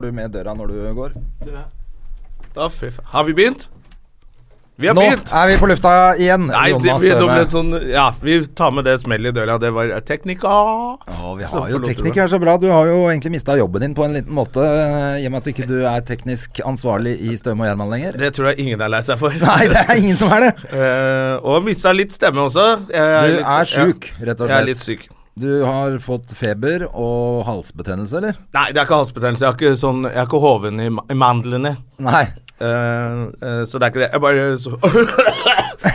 du med døra når du går. Da, fy faen. Har vi begynt? Vi har Nå begynt! er vi på lufta igjen. Nei, det, Jonas vi, det Støme. ble sånn, ja, vi tar med det smellet i døra. Det var eh, teknika. Ja, vi Så har jo forlåter du meg. teknikere så bra. Du har jo egentlig mista jobben din på en liten måte, eh, i og med at du ikke du er teknisk ansvarlig i Støme og Gjerman lenger. Det tror jeg ingen er lei seg for. Nei, det er ingen som er det! Eh, og mista litt stemme også. Jeg Du litt- er sjuk, rett og Jeg er litt slett. syk. Du har fått feber og halsbetennelse, eller? Nei, det er ikke halsbetennelse. Jeg har ikke, sånn, jeg har ikke hoven i, ma- i mandlene. Nei. Eh, eh, så det er ikke det. Jeg bare så,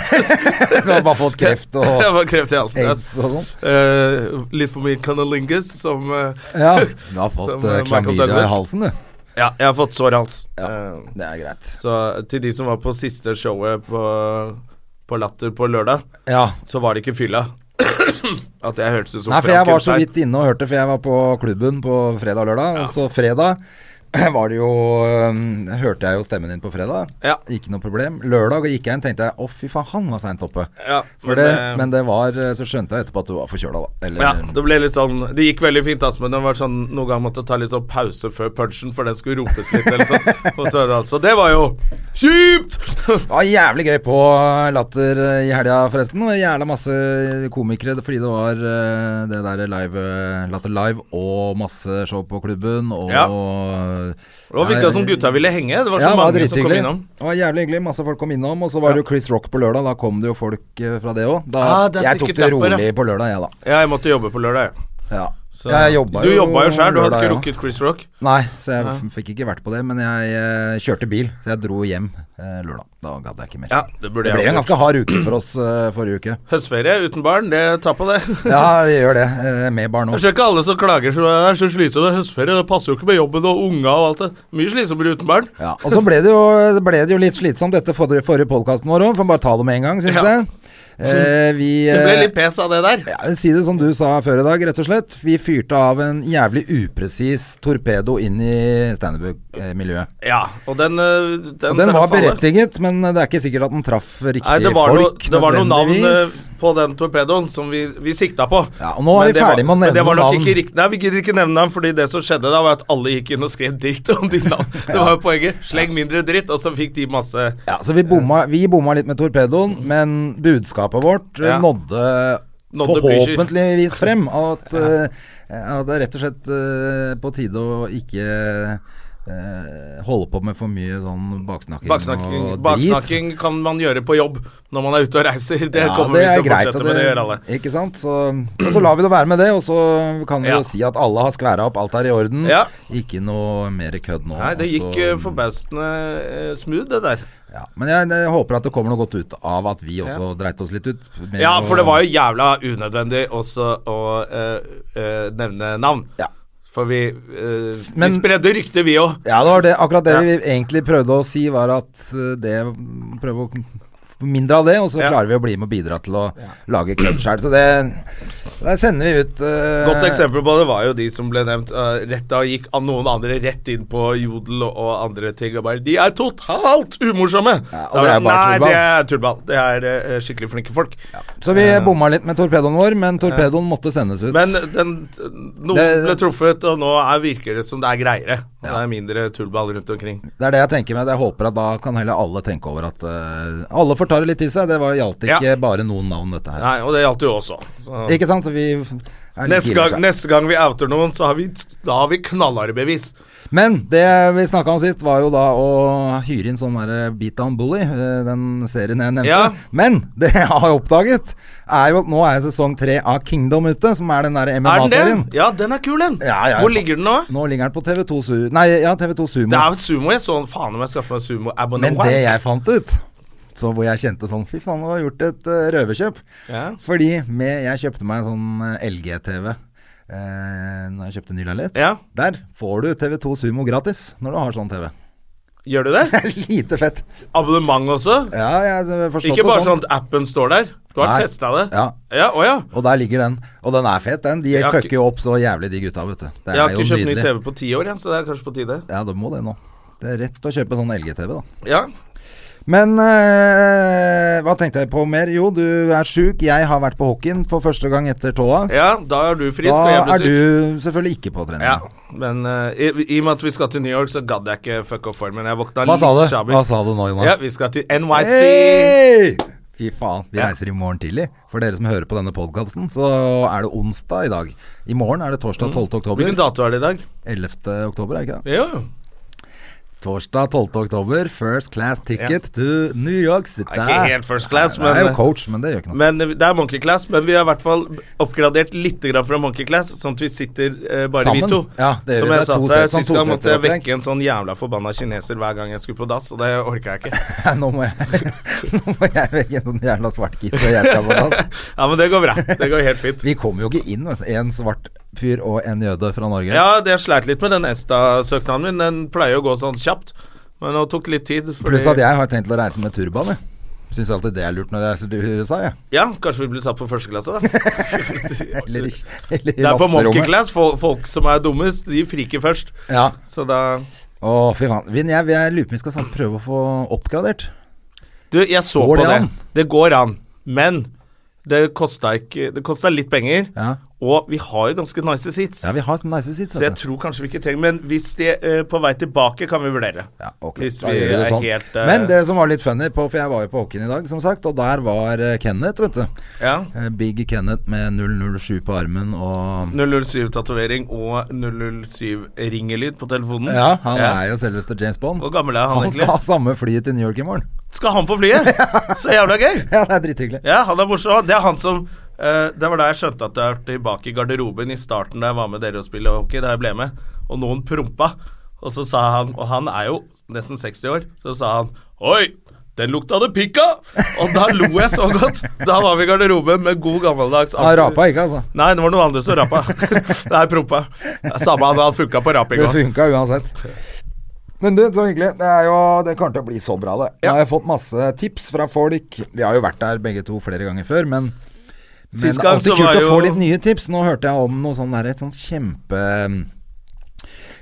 Du har bare fått kreft og Jeg var kreft i halsen. ja. aids og sånn. Eh, litt for mye cunnilingus, som eh, Ja. Du har fått Som, eh, eh, Michael klamydia i Douglas. halsen, du. Ja, jeg har fått sår hals. Eh, Det er greit. så til de som var på siste showet på, på Latter på lørdag, Ja. så var det ikke fylla. At jeg hørtes ut som Nei, for jeg var så Frankenstein. vidt inne og hørte, for jeg var på klubben på fredag og lørdag. Og så fredag var det jo øhm, Hørte jeg jo stemmen din på fredag. Ja. Ikke noe problem. Lørdag gikk jeg inn, tenkte jeg å fy faen, han var seint oppe. Ja, For men, det, eh, men det var øh, Så skjønte jeg etterpå at du var forkjøla, da. Eller Ja, det ble litt sånn Det gikk veldig fint, ass, men det var sånn noen ganger måtte jeg ta litt sånn pause før punchen, for den skulle ropes litt, eller sånn. Og så, altså, det var jo kjipt! Det var jævlig gøy på øh, Latter i helga, forresten. Og jævla masse øh, komikere fordi det var eh, det der live, eh, Latter Live og masse show på klubben og øh, Ja. Det Og var virka som gutta ville henge. Det var så Ja, det var mange som kom drithyggelig. innom. Det var jævlig hyggelig. Masse folk kom innom. Og så var det jo Chris Rock på lørdag. Da kom det jo folk eh, fra det òg. Ah, det er jeg tok sikkert det derfor, ja. rolig på lørdag, jeg, da. Ja, jeg måtte jobbe på lørdag, jeg. Ja. Så- jeg jobba du jobba jo sjøl, du hadde lørdag, ikke ja. rukket Chris Rock. Nei, så jeg f- fikk ikke vært på det. Men jeg eh, kjørte bil, så jeg dro hjem eh, lørdag. Da gadd jeg ikke mer. Ja, det burde Det jeg ble en også. ganske hard uke for oss eh, forrige uke. Høstferie uten barn, det tar på det. Ja, det gjør det. eh, Med barn Jeg òg. ser ikke alle som klager så det er så slitsomt med høstferie, det passer jo ikke med jobben og unga og alt det. Mye slitsommere uten barn. Ja, og så ble det, jo, eh, ble det jo litt slitsomt dette forrige, forrige podkasten vår òg, får bare ta det med en gang, syns Ja. jeg. Eh, vi, Det ble eh, litt pes av det der. Ja, Si det som du sa før i dag, rett og slett. Vi fyrte av en jævlig upresis torpedo inn i Steinerbug-miljøet. Ja, og den øh, Og den var traff alle. berettiget, men det er ikke sikkert at den traff riktig Nei, det var, noe, folk. det var noen navn eh, nødvendigvis. på den torpedoen som vi, vi sikta på. Ja, og nå er Men vi det var- ferdig med å men det nevne var nok navn. Ikke riktig, nei, vi gidder ikke nevne navn, fordi det som skjedde da, var at alle gikk inn og skrev dritt om de navn. Det var jo poenget. Sleng mindre dritt, og så fikk de masse Ja, så vi bomma, vi bomma litt med torpedoen, men budskapet vårt eh, Mm. Ja. nådde, Nådde Blücher. forhåpentligvis frem. At, eh, ja, det er rett og slett eh, på tide å ikke eh, holde på med for mye sånn baksnakking, baksnakking. og drit. Baksnakking kan man gjøre på jobb når man er ute og reiser. Det Ja, kommer det vi til er å greit. fortsette og med, det gjør alle. Ikke sant? Så, og så lar vi det være med det, og så kan vi Ja. jo si at alle har skværa opp, alt er i orden. Ja. Ikke noe mer kødd nå. Nei, det og gikk så- eh, forbausende eh, smooth, det der. ja. Men jeg, jeg håper at det kommer noe godt ut av at vi også dreit oss litt ut. med Ja, å- for det var jo jævla unødvendig også å eh, eh, nevne navn. Ja. For vi, eh, Men- vi spredde ryktet, vi òg. Ja, det var det. Akkurat det Ja. vi egentlig prøvde å si, var at eh, det Prøve å få mindre av det, og så Ja. klarer vi å bli med og bidra til å lage kødd sjøl. Så det Der sender vi ut eh, Godt eksempel på det var jo de som ble nevnt eh, rett da gikk an- noen andre rett inn på Jodel og, og andre ting og bare De er totalt umorsomme! Ja, og Da det er bare, bare Nei, tullball." det er tullball. Det er eh, skikkelig flinke folk. Så vi bomma litt med torpedoen vår, men torpedoen måtte sendes ut. Men den, noen Det- ble truffet, og nå er, virker det som det er greiere. Og Ja. Det er mindre tullball rundt omkring. Det er det jeg tenker med. Jeg håper at da kan heller alle tenke over at eh, Alle får ta det litt i seg. Det var- gjaldt ikke Ja. bare noen navn, dette her. Nei, og det gjaldt jo også. Så. Ikke sant? Så vi er litt Neste tidlig gang, seg. neste gang vi outer noen, så har vi, da har vi knallharde bevis. Men det vi snakka om sist, var jo da å hyre inn sånn derre Beatdown Bully, eh, den serien jeg nevnte. Ja. Men det jeg har oppdaget, er jo at nå er sesong tre av Kingdom ute, som er den derre Er den den? MMA-serien. Ja, den er kul, den. Ja, ja, ja. Hvor ligger den nå? Nå ligger den på TV2 Su Nei, ja, TV2 Sumo. Det er jo sumo. Jeg så faen om jeg skaffer Men meg det sumo-abonnement. jeg fant ut så hvor jeg kjente sånn Fy faen, nå har jeg gjort et eh, røverkjøp. Ja. Fordi med, jeg kjøpte meg en sånn eh, LG-TV. eh, når jeg kjøpte ny leilighet. Ja, Der får du TV2 Sumo gratis når du har sånn TV. gjør du det? Lite fett. Abonnement også? Ja, jeg har forstått Ikke det bare sånn at appen står der. Du har Nei. testa det? Ja. Ja, å ja. Og der ligger den. Og den er fet, den. De Jeg har fucker ikke- jo opp så jævlig, de gutta, vet du. Det Jeg har er ikke jo kjøpt ny nydelig. TV på ti år, igjen, så det er kanskje på tide. Ja, du må det nå. Det er rett å kjøpe sånn LG-TV, da. Ja. Men eh, hva tenkte jeg på mer? Jo, du er sjuk. Jeg har vært på hockeyen for første gang etter tåa. ja, da er du frisk, og Da jeg er blir syk. du selvfølgelig ikke på trening. Ja, men eh, i, i og med at vi skal til New York, så gadd jeg ikke fuck off-formen. Jeg våkna Hva litt sa du? shabby. Hva sa du nå, Jonas? Ja, vi skal til NYC. Hei! Fy faen, vi Ja. reiser i morgen tidlig. For dere som hører på denne podkasten, så er det onsdag i dag. I morgen er det torsdag Mm. 12. oktober. Hvilken dato er det i dag? 11. oktober, er det ikke det? Jo. Torsdag 12. oktober, first class ticket to New York City. Det er ikke helt first class, Det er jo men eh, coach, men det gjør ikke noe. men det er Monkey Class, men vi har i hvert fall oppgradert litt grann fra Monkey Class, sånn at vi sitter eh, bare Sammen. vi to. Ja, det gjør vi. Det Som er jeg sa to til deg set- sånn to sist gang, måtte jeg setter-opplegg. vekke en sånn jævla forbanna kineser hver gang jeg skulle på dass, og det orka jeg ikke. nå må jeg, nå må jeg vekke en sånn jævla svartkiss og jeg skal på dass. Ja, men det går bra. Det går helt fint. Vi kommer jo ikke inn, vet du. En svart fyr og en jøde fra Norge. Ja, det jeg sleit litt med den ESTA-søknaden min. Den pleier å gå sånn kjapt, men det tok litt tid. Fordi, Pluss at jeg har tenkt å reise med turban, jeg. Syns alltid det er lurt når jeg reiser til USA, jeg. Ja, kanskje vi blir satt på første klasse, da. Eller, det eller i er på Monkey lasterommet. Class. Folk, folk som er dummest, de friker først. Ja. Så da Å, fy faen. Vin, jeg, jeg lurer på om vi skal snart prøve å få oppgradert. Du, jeg så Går på det det. an? Det går an. Men det kosta ikke Det kosta litt penger, Ja. og vi har jo ganske nice seats. Ja, vi har sånn nice seats. Så jeg vet du. tror kanskje vi ikke trenger Men hvis de er på vei tilbake, kan vi vurdere. Ja, ok. Hvis Da vi gjør vi det er sånn. helt eh, Men det som var litt funny, på, for jeg var jo på hockeyen i dag, som sagt, og der var eh, Kenneth, vet du. ja. Eh, Big Kenneth med 007 på armen og 007-tatovering og 007-ringelyd på telefonen. Ja, han Ja. er jo selveste James Bond. Hvor gammel er han, Han skal egentlig? ha samme flyet til New York i morgen. Skal han på flyet? Så jævla gøy! Ja, det er drithyggelig. Ja, han er morsom. Det er han som eh, Det var da jeg skjønte at jeg var tilbake i garderoben i starten da jeg var med dere og spilte hockey, da jeg ble med, og noen prompa. Og så sa han Og han er jo nesten 60 år, så sa han Oi! Den lukta det pikk av! Og da lo jeg så godt. Da var vi i garderoben med god gammeldags Han rapa ikke, altså. Nei, det var noen andre som rapa. Nei, prompa. Ja, Samme han, han funka på raping Det òg. funka uansett. Men du, så hyggelig. Det, er jo, det kommer til å bli så bra, det. Nå Ja. har jeg fått masse tips fra folk. Vi har jo vært der begge to flere ganger før, men men Sist gang alltid så kult var å få jo- litt nye tips. Nå hørte jeg om noe sånn der, et sånt kjempe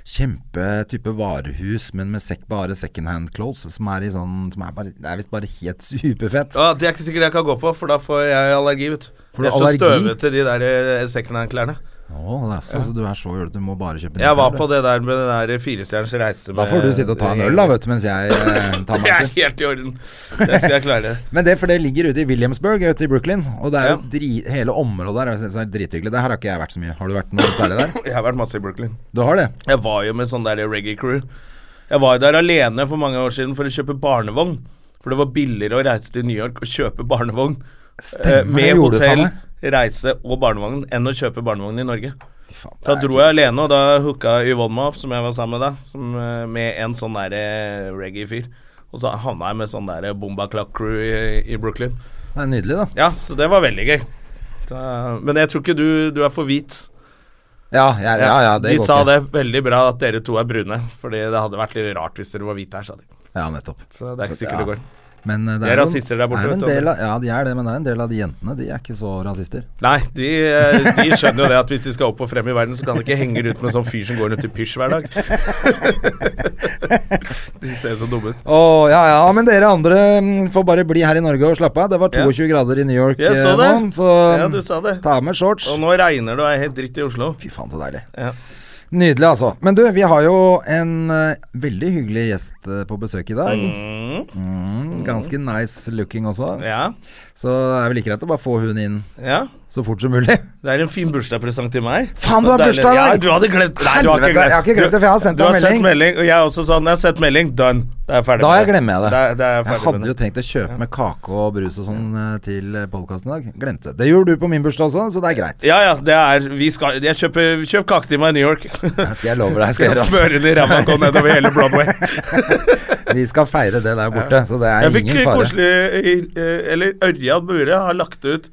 Kjempetype varehus, men med sekk, bare second hand clothes. Som er i sånn som er bare, Det er visst bare helt superfett. Ja, det er ikke sikkert jeg kan gå på, for da får jeg allergi, vet du. Får du Jeg er så allergi? støvete, de der eh, second hand-klærne. Å, det er så, så du er så jålete, du må bare kjøpe nye Jeg var klær, på du. det der med den der firestjerners reise Da får du sitte og ta en øl, da, vet du, mens jeg eh, tar meg en Det er tur. helt i orden. Det skal jeg klare. Men det, for det ligger ute i Williamsburg, ute i Brooklyn. Og det er jo Ja. dri, hele området der er jo sånn drithyggelig. Der har ikke jeg vært så mye. Har du vært noe særlig der? Jeg har vært masse i Brooklyn. Du har det? Jeg var jo med sånn der reggae-crew. Jeg var jo der alene for mange år siden for å kjøpe barnevogn. For det var billigere å reise til New York og kjøpe barnevogn Stemmer, eh, med det gjorde du, hotell, faen reise og barnevogn enn å kjøpe barnevogn i Norge. Da dro jeg alene, og da hooka Yvonne meg opp, som jeg var sammen med da, som, eh, med en sånn der eh, reggae-fyr. Og så havna jeg med sånn der eh, Bomba Clock Crew i, i Brooklyn. Det er nydelig, da. Ja, så det var veldig gøy. Da, men jeg tror ikke du, du er for hvit. Ja, ja, ja, ja det de går sa ikke. det veldig bra at dere to er brune, Fordi det hadde vært litt rart hvis dere var hvite her, sa de. Ja, nettopp. Så det er ikke sikkert Ja. det går. Men eh, det De er jo- rasister der borte, er jo en vet du. del av, Ja, de er det, men det er en del av de jentene. De er ikke så rasister. Nei, de, eh, de skjønner jo det at hvis de skal opp og frem i verden, så kan de ikke henge rundt med en sånn fyr som går rundt i pysj hver dag. de ser så dumme ut. Å, ja ja. Ah, Men dere andre mm, får bare bli her i Norge og slappe av. Det var 22 grader i New York Jeg så eh, det. nå, så Ja, du sa det. ta med shorts. Og nå regner det og er helt dritt i Oslo. Fy faen, så deilig. Ja. Nydelig, altså. Men du, vi har jo en eh, veldig hyggelig gjest eh, på besøk i dag. Mm, Mm, ganske nice looking også. ja, Så det er vel like greit å bare få hun inn ja. så fort som mulig. Det er en fin bursdagspresang til meg. Faen, du har Deilig. bursdag i dag! Ja, du hadde glemt Nei, du har Helvete, ikke glemt jeg har ikke glemt det, for jeg har sendt Du deg har melding. sendt melding, og jeg er også sånn Jeg har sett melding, done. Da er jeg ferdig Da med det. glemmer jeg det. Da- da er jeg Jeg ferdig med hadde det. jo tenkt å kjøpe med kake og brus og sånn eh, til podkasten i dag. Glemte. Det gjorde du på min bursdag også, så det er greit. Ja, ja, det er Vi skal Jeg kjøper Kjøp kake til meg i New York. Det skal jeg love deg. Skal Skal jeg gjøre, smøre den i ræva og gå nedover hele Broadway. altså. Vi skal feire det der borte, så det Jeg er fikk ingen fare. koselig eh, Eller Ørjan Bure har lagt ut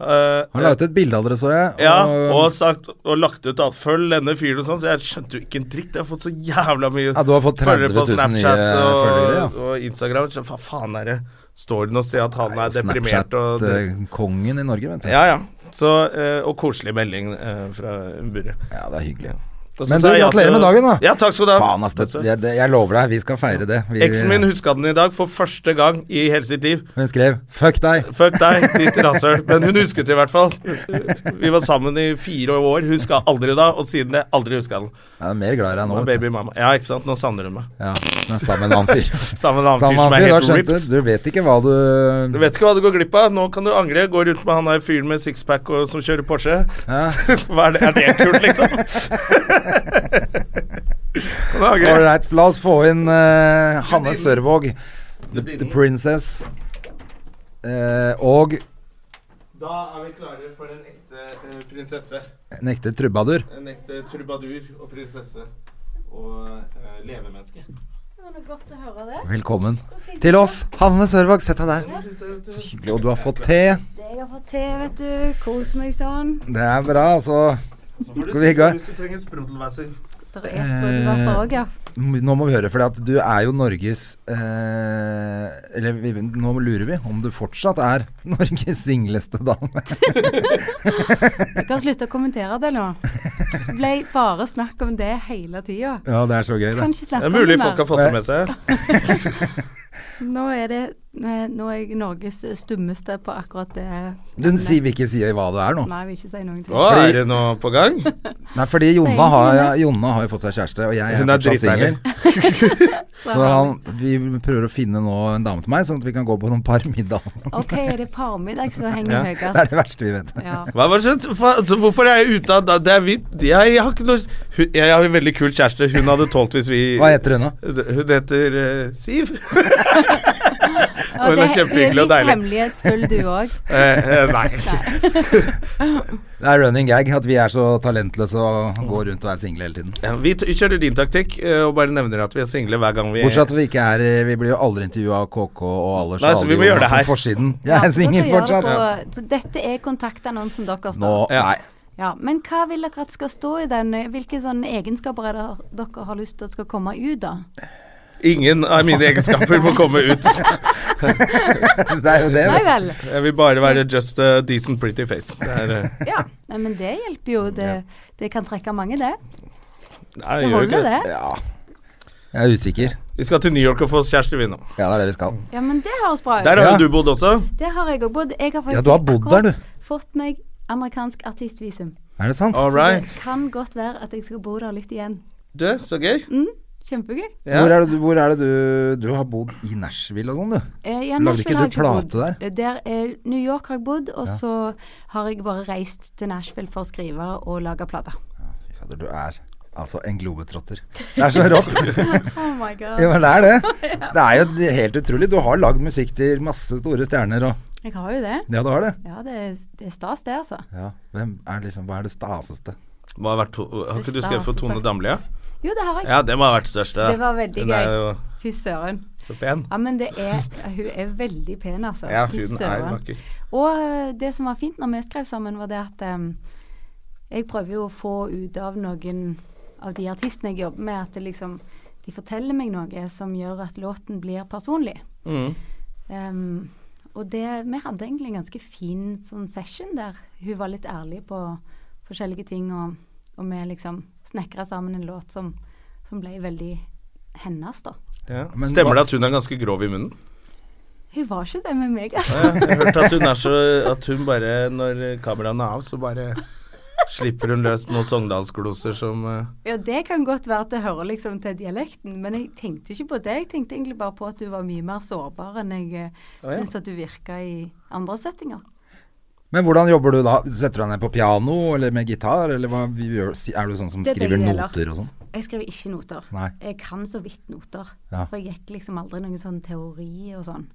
Eh, Han la ut et bilde av dere, så jeg. ja, og, sagt, og lagt ut at følg denne fyren og sånn, så jeg skjønte jo ikke en dritt. Jeg har fått så jævla mye Ja, du har fått 30 000 nye og, følgere, ja. og Instagram. Så, hva faen er det? Står det noe sted at han er deprimert? eh, Og, Snapchat-kongen i Norge, vet du. ja, ja. Så, eh, og koselig melding eh, fra buret. Ja, det er hyggelig. Og så Men sa du, jeg at- gratulerer med dagen, da. Ja, takk skal du ha. Faen, ass. Det, jeg, det, jeg lover deg, vi skal feire det. Vi, Eksen min huska den i dag for første gang i hele sitt liv. Hun skrev 'fuck deg'. Fuck deg, ditt rasshøl. Men hun husket det i hvert fall. Vi var sammen i fire år, huska aldri da, og siden det aldri huska den. Jeg er mer glad i deg nå. Nå er vet du. baby mamma. Ja, ikke sant. Nå savner hun meg. Ja, men sammen med en annen fyr. Sammen Sammen med en annen fyr med som er en annen fyr, da helt skjønte ripped. du. Du vet ikke hva Du du vet ikke hva du går glipp av. Nå kan du angre. Gå rundt med han der fyren med sixpack og- som kjører Porsche. Ja. Hva er, det, er det kult, liksom? kan du angre? Ålreit, la oss få inn eh, Hanne Sørvåg, The, the Princess, eh, og Da er vi klare for en ekte eh, prinsesse. en ekte trubadur. En ekte trubadur og prinsesse og eh, levemenneske. Ja, det er godt å høre det. Velkommen til oss, Hanne Sørvåg. Sett deg der. Så hyggelig. Og du har fått te. Det jeg har fått til, vet du. Kos meg sånn. Det er bra, altså. Så får du Skal vi gå? si hvis du trenger sprudelwasser. Det er sprudlevatter òg, ja. Nå må vi høre, for du er jo Norges eh, Eller vi, nå lurer vi om du fortsatt er Norges singleste dame. Du kan slutte å kommentere det nå. Det ble bare snakk om det hele tida. Ja, det er så gøy, det. Kan Det ikke snakke er om mulig det folk har mer. fått det med seg. Nå er, det, eh, nå er jeg Norges stummeste på akkurat det. Du sier vi ikke sier hva det er nå. Nei, jeg vil ikke si noen ting. Å, er det noe på gang? Nei, fordi Jonna har, Jonna har jo fått seg kjæreste, og jeg er Hun er fortsatt dritdeilig. singel. Så han, vi prøver å finne nå en dame til meg, sånn at vi kan gå på noen par middag. OK, er det parmiddag som henger Ja, det er høyest? det verste vi vet. Ja. Hva var det, som- fa- altså, hvorfor er jeg ute av da- det? Er vi, jeg, jeg har ikke noe hun- Jeg har en veldig kul kjæreste. Hun hadde tålt hvis vi Hva heter hun da? Hun heter eh, Siv. Og det er det- kjempehyggelig og Du er deilig. litt hemmelighetsfull, du òg. Eh, eh, nei. Det er running gag at vi er så talentløse og går rundt og er single hele tiden. Ja, vi t kjører din taktikk eh, og bare nevner at vi er single hver gang vi Bortsett fra at vi ikke er eh, Vi blir jo aldri intervjua av KK og alle Nei, så vi må alle- gjøre det her. på forsiden. Jeg er så dere singel gjør det fortsatt. på- Så dette er kontaktannonsen deres, da? Nå Ja. Nei. Ja, Men hva vil dere at skal stå i den? Hvilke sånne egenskaper er det dere har lyst til at skal komme ut, da? Ingen av mine egenskaper må komme ut. Det er jo det. Nei Vet. vel. Jeg vil bare være just a decent pretty face. Det er, eh, Ja. Nei, men det hjelper jo. Det, det kan trekke mange, det. nei, Det jeg gjør ikke holder, det. det. Ja. Jeg er usikker. Vi skal til New York og få oss kjæreste, vi nå. Ja, det er det vi skal. Ja, men det høres bra ut. Der har Ja. jo du bodd også. Det har jeg òg bodd. Jeg har faktisk Ja, du har bodd akkurat der, du. fått meg amerikansk artistvisum. Er det sant? All right. Det kan godt være at jeg skal bo der litt igjen. Mm, Du, så gøy. Kjempegøy. Ja. Hvor, er det, du- hvor er det du Du har bodd i Nashville og sånn, du? Eh, Lagde ja, ikke Nashville har du jeg plate bodd. der? Eh, der eh, New York har jeg bodd, og så har jeg bare reist til Nashville for å skrive og lage plater. Fy fader, du er altså en globetrotter. Det er så rått. Oh my god. jo, men det er det. Det er jo helt utrolig. Du har lagd musikk til masse store stjerner og Jeg har jo det. Ja, du har det. Ja, det er, det er stas, det, altså. Ja. Hvem er liksom Hva er det staseste? Hva har, vært to har ikke du skrevet for Tone Damli, ja? Jo, det har jeg. Ja, det må ha vært det største. da. Det var veldig Hun er gøy. jo Fy søren. så pen. Ja, men det er Hun er veldig pen, altså. Ja, Fy hun er søren. vakker. Og eh, det som var fint når vi skrev sammen, var det at em, jeg prøver jo å få ut av noen av de artistene jeg jobber med, at det liksom, de forteller meg noe som gjør at låten blir personlig. Mm. Em, og det, vi hadde egentlig en ganske fin sånn session der hun var litt ærlig på forskjellige ting, og, og vi liksom snekra sammen en låt som, som ble veldig hennes, da. Ja. Men Stemmer det hva- at hun er ganske grov i munnen? Hun var ikke det med meg, altså. Jeg har hørt at hun er så At hun bare, når kameraene er av, så bare slipper hun løs noen sogndalskloser som eh, Ja, det kan godt være at det hører liksom til dialekten, men jeg tenkte ikke på det. Jeg tenkte egentlig bare på at du var mye mer sårbar enn jeg eh, ja. syns at du virka i andre settinger. Men hvordan jobber du da? Setter du deg ned på piano eller med gitar, eller hva vi gjør? Si- Er du sånn som Det er skriver begge deler. noter og sånn? Jeg skriver ikke noter. Nei. Jeg kan så vidt noter. Ja. For jeg gikk liksom aldri noen sånn teori og sånn.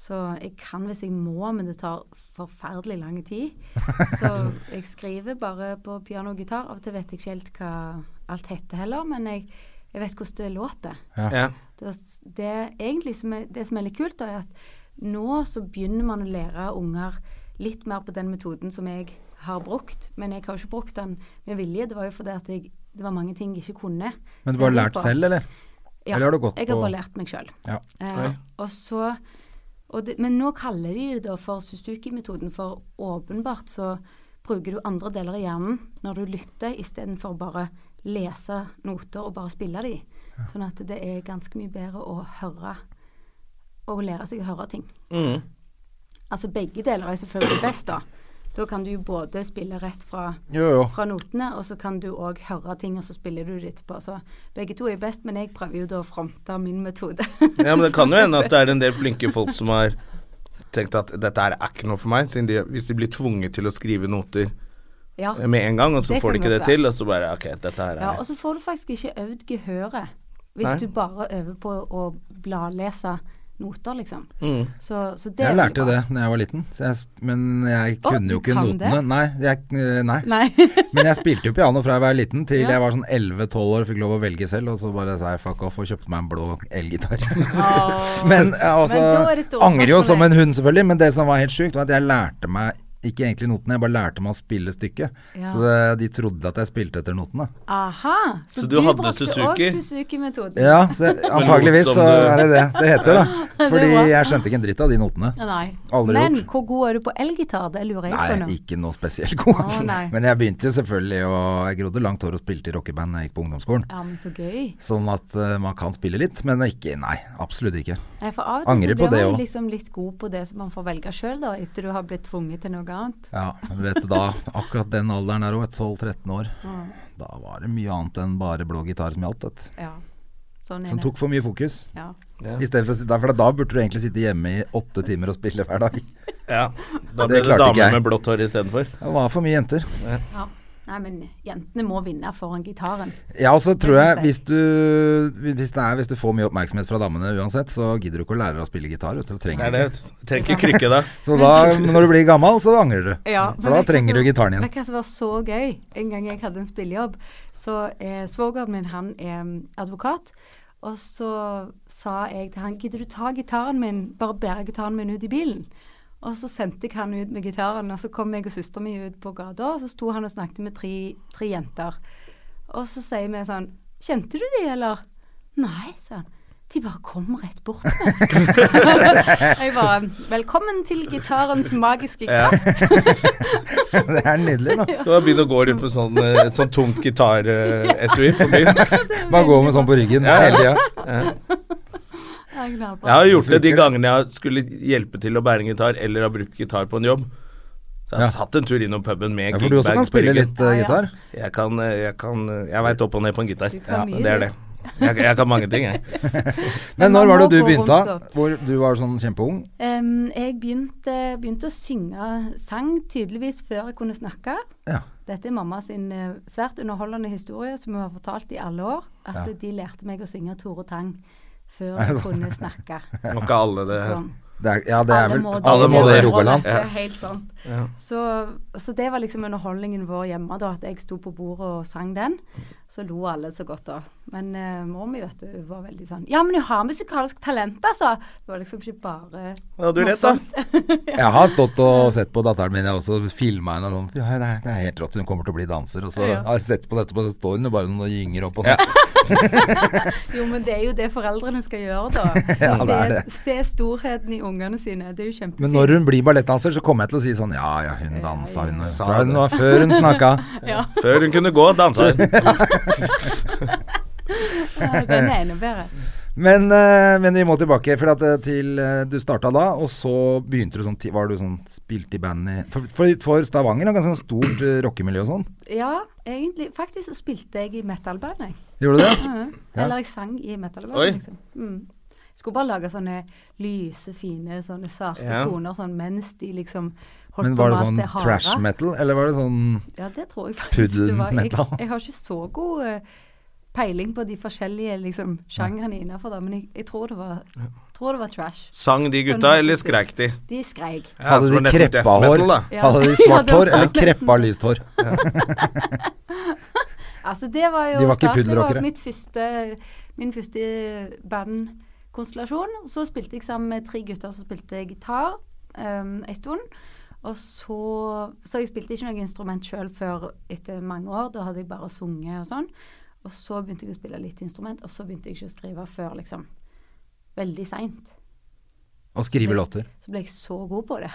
Så jeg kan hvis jeg må, men det tar forferdelig lang tid. Så jeg skriver bare på piano og gitar. Av og til vet jeg ikke helt hva alt heter heller, men jeg, jeg vet hvordan det låter. Ja. Det, det, egentlig som er, det som er litt kult, da, er at nå så begynner man å lære unger litt mer på den metoden som jeg har brukt. Men jeg har jo ikke brukt den med vilje. Det var jo fordi at jeg, det var mange ting jeg ikke kunne. Men du har lært selv, eller? Ja, eller har du gått jeg har på- bare lært meg sjøl. Ja. Eh, og så og det, Men nå kaller de det da for Suzuki-metoden, for åpenbart så bruker du andre deler av hjernen når du lytter, istedenfor bare lese noter og bare spille de. Sånn at det er ganske mye bedre å høre og lære seg å høre ting. Mm. Altså begge deler er selvfølgelig best, da. Da kan du jo både spille rett fra, Jo, jo. fra notene, og så kan du òg høre ting, og så spiller du det etterpå. Så begge to er best, men jeg prøver jo da å fronte min metode. Ja, men det kan jo hende at det er en del flinke folk som har tenkt at dette her er ikke noe for meg, siden de, hvis de blir tvunget til å skrive noter Ja. med en gang, og så Det får de kan ikke det godt være. til, og så bare ok, dette her Ja, er og så får du faktisk ikke øvd gehøret hvis Nei. du bare øver på å bladlese noter, liksom. Mm. Så, så det er Jeg veldig lærte bra. det da jeg var liten, så jeg, s- men jeg Å, kunne du jo ikke kan notene. det? Nei, jeg, eh, nei. Nei. Men jeg spilte jo piano fra jeg var liten til Ja. jeg var sånn 11-12 år, fikk lov å velge selv, og så bare sa jeg fuck off og kjøpte meg en blå elgitar. men jeg altså, Men da er det store angrer jo spørsmålet. som en hund selvfølgelig, men det som var helt sjukt, var at jeg lærte meg ikke egentlig notene, jeg bare lærte meg å spille stykket. Ja. Så det, de trodde at jeg spilte etter notene. Aha, så, Så du du, hadde brukte Suzuki? også Suzuki-metoden? Ja, så jeg, antageligvis som så du- er det det det heter, da. Det Fordi var- jeg skjønte ikke en dritt av de notene. Nei. Aldri men gjort. hvor god er du på elgitar? Det lurer jeg på nå. Nei, ikke noe spesielt god. Å, Altså. nei. men jeg begynte jo selvfølgelig å Jeg grodde langt hår og spilte i rockeband da jeg gikk på ungdomsskolen. Ja, men så gøy. Sånn at eh, man kan spille litt, men ikke Nei, absolutt ikke. Nei, for av og til Angrer så på blir det man også. liksom litt god på det som man får velge sjøl, da, etter du har blitt tvunget til noe annet. Ja, men vet du da, akkurat den alderen der òg, 12-13 år, da var det mye annet enn bare blå gitar som gjaldt, vet du. Ja. Sånn er Som det. tok for mye fokus. Ja. I stedet for, å sitte der, for da burde du egentlig sitte hjemme i åtte timer og spille hver dag. Ja, da Det ble det klarte ikke jeg. damer med blått hår istedenfor. Det var for mye jenter. ja. Nei, men jentene må vinne foran gitaren. Ja, og så tror Det jeg synes jeg. hvis du, hvis, det er, hvis du får mye oppmerksomhet fra damene uansett, så gidder du ikke å lære deg å spille gitar. Vet du, du Det trenger er det. det. Trenger ikke krykke da. Så da, når du blir gammel, så angrer du. Ja, for da trenger du gitaren igjen. Vet du hva som var så gøy? En gang jeg hadde en spillejobb, så eh, svogeren min han er mm, advokat. Og så sa jeg til han gidder du ta gitaren min, bare bære gitaren min ut i bilen. Og så sendte jeg han ut med gitaren, og så kom jeg og søsteren min ut på gata, og så sto han og snakket med tre, tre jenter. Og så sier vi sånn Kjente du de, eller? Nei, sa han. De bare kom rett bort til meg. jeg bare Velkommen til gitarens magiske kraft. det er nydelig, da. Du har begynt å gå rundt med sånn, eh, et sånn tungt gitaretui på byen. Bare gå med sånn på ryggen Ja, ja. hele tida. Ja, knallbra. Jeg har gjort det de gangene jeg skulle hjelpe til å bære en gitar, eller har brukt gitar på en jobb. Så jeg har tatt en tur innom puben Ja, med en for du også kan gigbag på spille ryggen. litt eh, gitar. Jeg kan, eh, jeg kan eh, Jeg veit opp og ned på en gitar. Du kan mye, det er du. det. Jeg, jeg kan mange ting, jeg. Men når Men man var det må du gå begynte? rundt da? og- Hvor du var sånn kjempeung? Em, jeg begynte, begynte å synge sang tydeligvis før jeg kunne snakke. Ja. Dette er mamma sin eh, svært underholdende historie som hun har fortalt i alle år. At Ja. de lærte meg å synge Tore Tang Er før det jeg sant? kunne snakke. Må ikke alle det Sånn. Det er, ja, det er vel Alle må det i det. Rogaland. Det er helt sant. Så, så det var liksom underholdningen vår hjemme, da, at jeg sto på bordet og sang den. Så lo alle så godt, da. Men eh, mor mi vet du, var veldig sånn Ja, men du har musikalsk talent, altså! Det var liksom ikke bare Ja, du er rett, da. Jeg har stått og sett på datteren min, jeg har også filma henne og sånn ja, det, er, det er helt rått, hun kommer til å bli danser. Og så har jeg sett på dette, og så står hun jo bare sånn og gynger opp og ned. Jo, men det er jo det foreldrene skal gjøre, da. Ja, det er det. se, se storheten i ungene sine. Det er jo kjempefint. Men når hun blir ballettdanser, så kommer jeg til å si sånn Ja, ja, hun dansa, hun. Fra hun var før hun snakka. Før hun kunne gå, dansa hun. Ja, Den er enda bedre. Men, eh, men vi må tilbake, for at eh, til eh, du starta da, og så begynte du sånn ti- Var du sånn spilt i band i For, for, for Stavanger er ganske sånn stort eh, rockemiljø og sånn. Ja, egentlig. Faktisk så spilte jeg i metalband, jeg. Gjorde du det? Mhm. Ja. Eller jeg sang i metalband, Oi. liksom. Mm. Skulle bare lage sånne lyse, fine, sånne sarte Ja. toner sånn mens de liksom holdt Men på var med det alt sånn det harde. trash metal, eller var det sånn Ja, det tror jeg faktisk det var. Jeg, Puddel-metal. jeg har ikke så god eh, peiling på de forskjellige liksom, sjangrene innafor det, men jeg, jeg tror, det var, tror det var trash. Sånn Sang de gutta, eller skreik de? De skreik. Ja, Hadde som var de nesten kreppa death hår? metal, da. Ja. Hadde de Ja, svart det var hår, eller nesten. kreppa lyst hår? Altså det var jo De var ikke start- det var puddelrockere. mitt første, min første bandkonstellasjon. Så spilte jeg sammen med tre gutter som spilte gitar um, en stund. Og så, så jeg spilte ikke noe instrument sjøl før etter mange år. Da hadde jeg bare sunget og sånn. Og så begynte jeg å spille litt instrument, og så begynte jeg ikke å skrive før liksom veldig seint. Å skrive låter. Så ble jeg så god på det.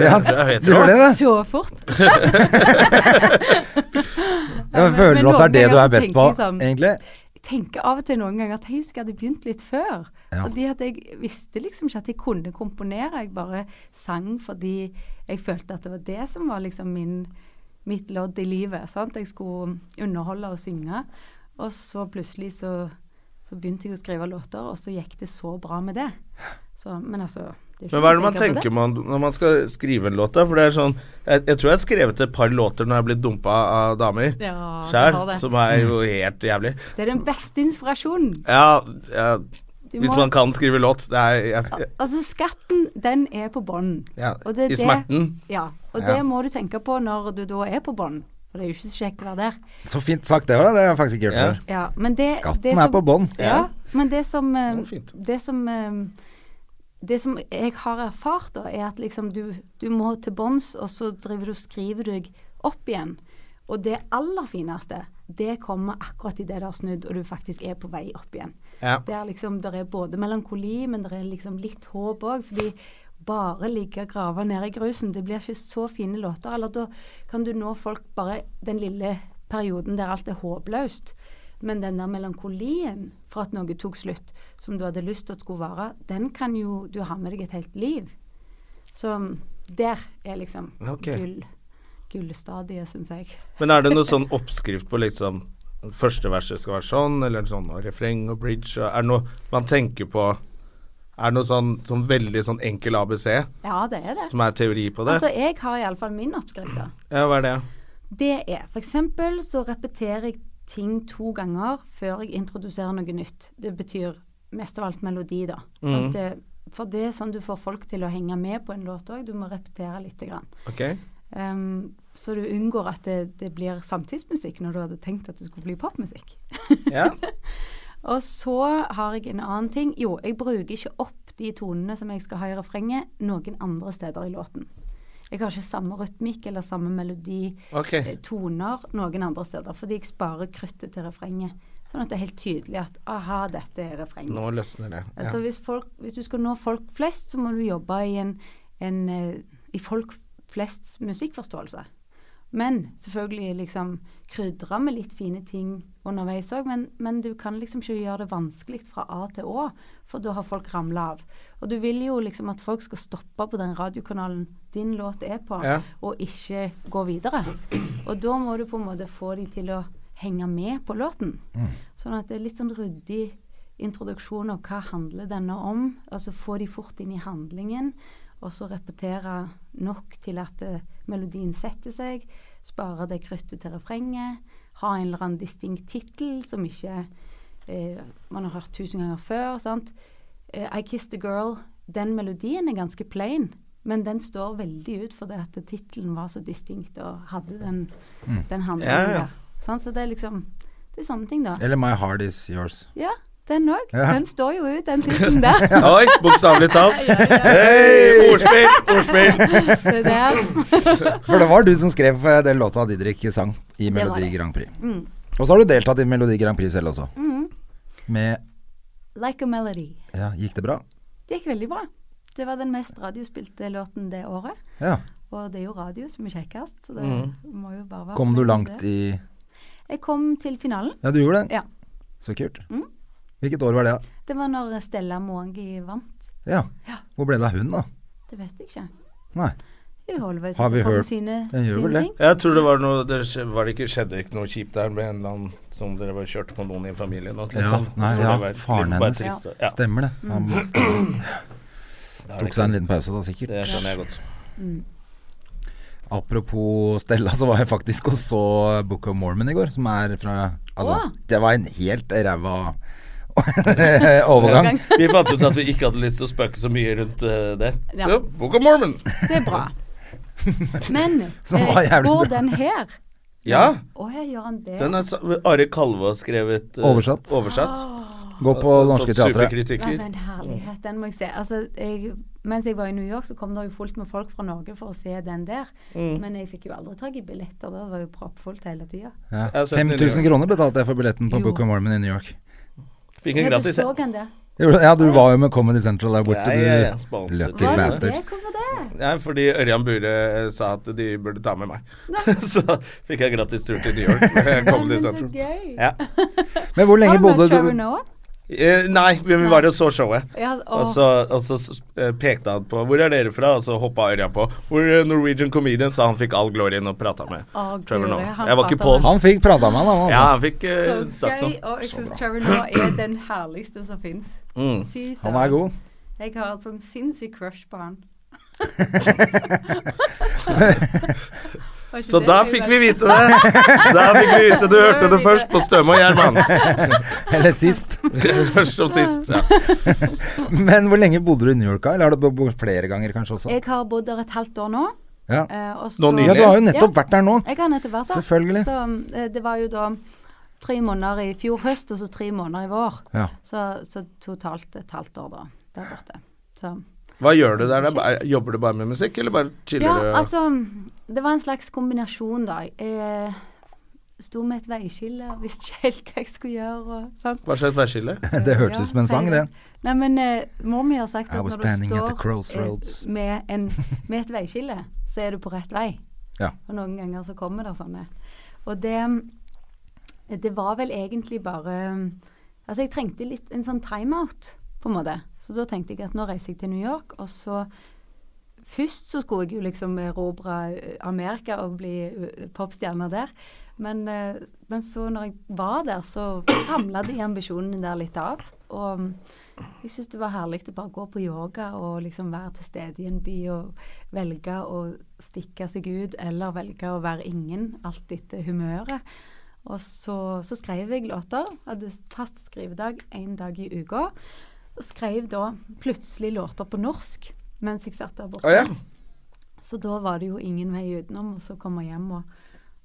Ja, jeg du gjør det, det. Så fort. Jeg føler at det er det du er best på, Jeg sånn- egentlig. tenker av og til noen ganger at jeg husker jeg hadde begynt litt før. Ja. Fordi at jeg visste liksom ikke at jeg kunne komponere. Jeg bare sang fordi jeg følte at det var det som var liksom min, mitt lodd i livet. Sant? Jeg skulle underholde og synge. Og så plutselig så, så begynte jeg å skrive låter, og så gikk det så bra med det. Så, men altså det er ikke Men hva er det noe å man tenke på tenker man, når man skal skrive en låt, da? For det er sånn Jeg, jeg tror jeg har skrevet et par låter når jeg har blitt dumpa av damer Ja, du sjæl, har det. som er jo helt jævlig. Det er den beste inspirasjonen. Ja, ja Du hvis må- man kan skrive låt. Det er jeg, Al- sk- Altså, skatten, den er på bånn. ja, Og det er I det- smerten. Ja, og det må du tenke på når du da er på bånn. For det er jo ikke så kjekt å være der. Så fint sagt, det var det. Det har jeg faktisk ikke hørt Ja. før. Ja, men det, Skatten det er på bånn. Ja, Ja. men det som eh, Det var fint. Det som eh, det som jeg har erfart, da, er at liksom du, du må til bånns, og så driver du og skriver deg opp igjen. Og det aller fineste, det kommer akkurat idet det har snudd, og du faktisk er på vei opp igjen. Ja. Det er liksom, der er både melankoli, men det er liksom litt håp òg. Fordi bare ligge og grave ned i grusen, det blir ikke så fine låter. Eller da kan du nå folk bare den lille perioden der alt er håpløst. Men den der melankolien for at noe tok slutt, som du hadde lyst til at skulle vare, den kan jo du ha med deg et helt liv. Så der er liksom Ok. gull. Gullstadiet, syns jeg. Men er det noe sånn oppskrift på liksom Første verset skal være sånn, eller sånn og refreng og bridge og Er det noe man tenker på Er det noe sånn, sånn veldig sånn enkel ABC Ja, det er det. som er teori på det? Altså, jeg har iallfall min oppskrift, da. ja, hva er det? Det er f.eks. så repeterer jeg ting to ganger før jeg introduserer noe nytt. Det betyr mest av alt melodi, da. Sånn at det, for det er sånn du får folk til å henge med på en låt òg. Du må repetere lite grann. Ok. Um, så du unngår at det, det blir samtidsmusikk når du hadde tenkt at det skulle bli popmusikk. Ja. Og så har jeg en annen ting. Jo, jeg bruker ikke opp de tonene som jeg skal ha i refrenget, noen andre steder i låten. Jeg har ikke samme rytmikk eller samme melodi, Ok. eh, toner, noen andre steder. Fordi jeg sparer kruttet til refrenget. Sånn at det er helt tydelig at aha, dette er refrenget. Nå løsner det. Ja. Altså hvis, folk, hvis du skal nå folk flest, så må du jobbe i, en, en, eh, i folk flests musikkforståelse. Men selvfølgelig liksom krydre med litt fine ting underveis òg. Men, men du kan liksom ikke gjøre det vanskelig fra A til Å, for da har folk ramla av. Og du vil jo liksom at folk skal stoppe på den radiokanalen din låt er på, Ja. og ikke gå videre. Og da må du på en måte få de til å henge med på låten. Mm. Sånn at det er litt sånn ryddig introduksjon av hva handler denne om. Og så få de fort inn i handlingen, og så repetere nok til at eh, melodien setter seg. Spare det kruttet til refrenget. Ha en eller annen distinkt tittel som ikke eh, man har hørt tusen ganger før. sant? Eh, I Kissed a Girl, den melodien er ganske plain. Men den står veldig ut fordi at tittelen var så distinkt og hadde den, den handlingen Mm. Ja, ja. der. Sant? Så det er liksom Det er sånne ting, da. Eller My Heart Is Yours. Ja, den òg. Ja. Den står jo ut, den tittelen der. Oi, bokstavelig talt. Hei! Ordspill! Ordspill! Se der. For det var du som skrev eh, den låta Didrik sang i var Melodi det. Mm. Grand Prix. Og så har du deltatt i Melodi Grand Prix selv også. Med Mm-hmm. Like a Melody. Ja, gikk det bra? Det gikk veldig bra. Det var den mest radiospilte låten det året. Ja. Og det er jo radio som er kjekkest, så det må jo bare være Kom du fornøyd med langt det. i Jeg kom til finalen. Ja, du gjorde det? Ja. Mm. Så kult. Hvilket år var det, da? Det var når Stella Moangi vant. Ja. Hvor ble det av hun, da? Det vet jeg ikke. Nei. Hun holder vel Har vi på med hørt- sine, Den gjør vel sine det. ting. Jeg tror det var noe det, skje- var det ikke, skjedde ikke noe kjipt der med en eller annen som dere bare kjørte på noen i familien? og litt Ja, sånn. nei, Jeg tror ja, det var litt- faren bare hennes. trist, og- Ja, Stemmer det. Mm. Han stemmer. det er det tok ikke. seg en liten pause da, sikkert. Det skjønner jeg godt. Apropos Stella, så var jeg faktisk og så Book of Mormon i går, som er fra Altså, Åh. det var en helt ræva overgang. Vi fant ut at vi ikke hadde lyst til å spøke så mye rundt eh, det. Ja. Jo, Book of Mormon! Det er bra. Men Som eh, var jævlig går bra. den her? Ja, Å ja, gjør han det? den er sa- Are Kalvå har skrevet eh, Oversatt. oversatt. Gå på Fått norske teatre. Ja, Superkritikker. men herlighet, den må jeg se. Altså, jeg, mens jeg var i New York, så kom det jo fullt med folk fra Norge for å se den der. Men jeg fikk jo aldri tak i billetter. Det var jo proppfullt hele tida. Ja. har sett den i New 5000 kroner betalte jeg for billetten på Jo. Book of Mormon i New York. Fikk en Ja, du gratis så den der. Gjorde- Ja, du var jo med Comedy Central der borte, Ja, ja, ja, du. sponset. Lucky Var det bastard. det? Hvorfor det? Ja, fordi Ørjan Bure eh, sa at de burde ta med meg. så fikk jeg gratis tur til New York. med Nei, men Comedy så Central. gøy. Ja. Men hvor lenge Har du bodde møtt Trevor du Noah? Eh, nei, men vi var og så showet. Ja, og, Og så, og så s- eh, pekte han på 'Hvor er dere fra?' Og så hoppa Ørjan på 'We're a Norwegian comedian', så han fikk all glorien og prata med Å, Trevor guri, Noah. han Jeg var ikke pratet på med den. Han fikk prata med han, han, Ja, altså. han fikk eh, så sagt gøy. noe. Og jeg syns Trevor Noah er den herligste som fins. Mm. Fy Han er god. Jeg har et sånn sinnssykt crush på han. Var ikke Så det da gøy, fikk vel? vi vite det! Da fikk vi vite Du hørte det først på Støme og Gjerman. Eller sist. Først som sist. Ja. Men hvor lenge bodde du i New York, da? Eller har du bodd flere ganger kanskje også? Jeg har bodd der et halvt år nå. Ja. eh, og Nå så- nylig? ja, du har jo nettopp Ja, vært der nå. Jeg har nettopp vært der. Selvfølgelig. Så mm, eh, det var jo da tre måneder i fjor høst, og så tre måneder i vår. Ja. Så, så totalt et halvt år da, der borte. Så. Hva gjør du der? da? Bare- Jobber du bare med musikk, eller bare chiller du? Ja, altså Det var en slags kombinasjon, da. Jeg eh, sto med et veiskille og visste ikke helt hva jeg skulle gjøre. Og, sant? Hva slags værskille? Det hørtes Ja, ut som en sang, sier det. Nei, men eh, mor mi har sagt I at was når standing du at the står crossroads. eh, med, en, med et veiskille, så er du på rett vei. Ja. Og noen ganger så kommer det sånne. Og det Det var vel egentlig bare Altså, jeg trengte litt en sånn timeout, på en måte. Så da tenkte jeg at nå reiser jeg til New York, og så Først så skulle jeg jo liksom erobre eh, Amerika og bli eh, popstjerne der. Men, eh, men så når jeg var der, så ramla de ambisjonene der litt av. Og mm, jeg syns det var herlig å bare gå på yoga og liksom være til stede i en by og velge å stikke seg ut, eller velge å være ingen, alt etter humøret. Og så, så skrev jeg låter. Hadde fast skrivedag én dag i uka. Og skrev da plutselig låter på norsk mens jeg satt der borte. Å ja. Så da var det jo ingen vei utenom å så komme hjem og,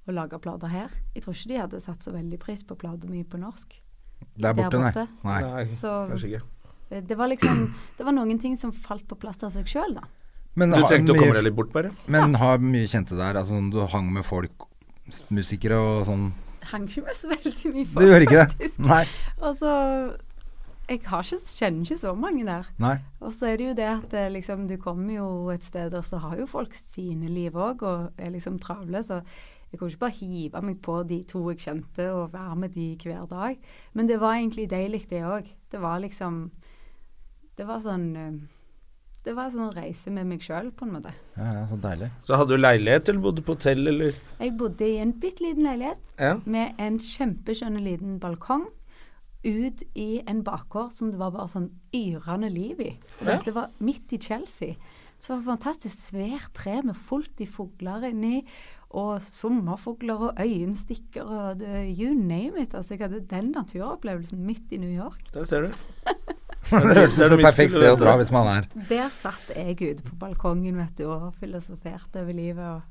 og lage plater her. Jeg tror ikke de hadde satt så veldig pris på plata mi på norsk. Der borte, nei. borte. nei. Nei, Så- kanskje ikke. Eh, Det var liksom Det var noen ting som falt på plass av seg sjøl, da. Men, Du har trengte å komme deg mye, litt bort, bare? men har mye kjente der? Altså sånn du hang med folk, s- musikere og sånn? Hang ikke med så veldig mye Du gjorde ikke det? faktisk. Nei. Og så Jeg har ikke, kjenner ikke så mange der. nei. Og så er det jo det at eh, liksom, du kommer jo et sted, og så har jo folk sine liv òg, og er liksom travle. Så jeg kunne ikke bare hive meg på de to jeg kjente, og være med de hver dag. Men det var egentlig deilig, det òg. Det var liksom Det var sånn eh, Det var sånn reise med meg sjøl, på en måte. Ja, ja, så deilig. Så hadde du leilighet, eller bodde du på hotell, eller? Jeg bodde i en bitte liten leilighet Ja. med en kjempeskjønn liten balkong. Ut i en bakgård som det var bare sånn yrende liv i. Og Dette var midt i Chelsea. Så det var et fantastisk svært tre med fullt i fugler inni. Og sommerfugler og øyenstikker og det, you name it. Altså, jeg hadde den naturopplevelsen midt i New York. Der ser du. Det hørtes ut som et perfekt sted å dra hvis man er Der satt jeg ute på balkongen vet du, og filosoferte over livet og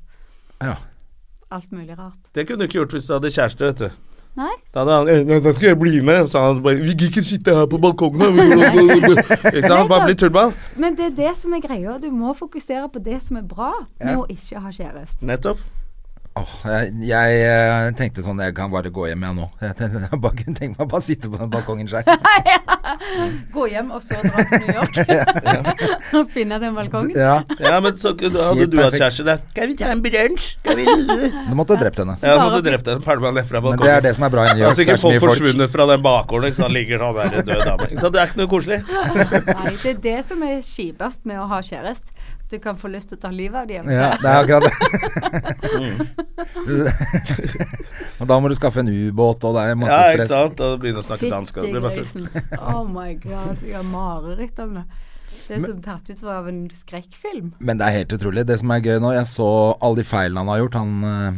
Ja. alt mulig rart. Det kunne du ikke gjort hvis du hadde kjæreste, vet du. Nei, Da hadde han «Eh, nei, 'Da skal jeg bli med', sa han bare 'Vi gikk ikke sitte her på balkongen', da». Ikke sant? Han bare blir tullball. Men det er det som er greia. Du må fokusere på det som er bra, med å ikke ha kjæreste. Nettopp. Åh, jeg, jeg eh, tenkte sånn Jeg kan bare gå hjem, jeg nå. Jeg, tenkte, jeg bare kunne tenke meg å bare sitte på den balkongen sjøl. Gå hjem og så dra til New York. og finne den balkongen. Ja. Ja, men så da hadde Helt du hatt perfekt. kjæreste der. Skal vi ta en brunsj? Skal vi Du måtte ha drept henne. Ja, måtte drept en pælmann ned fra Men det er balkongen. det som er bra i New Det er York. Det sikkert er så folk mye folk. forsvunnet fra den bakgården, ikke sant. Ligger sånn der en død dame. Ikke sant? Det er ikke noe koselig. Nei, det er det som er kjipest med å ha kjæreste. Du kan få lyst til å ta livet av dem. Ja, det er akkurat det. Mm. og da må du skaffe en ubåt, og det er masse Ja, ikke stress. sant. Og begynne å snakke dansk. og det Fytti blir bare tull. grisen. Oh my god, jeg har mareritt om det. Det er som tatt ut av en skrekkfilm. Men det er helt utrolig. Det som er gøy nå, jeg så alle de feilene han har gjort, han eh,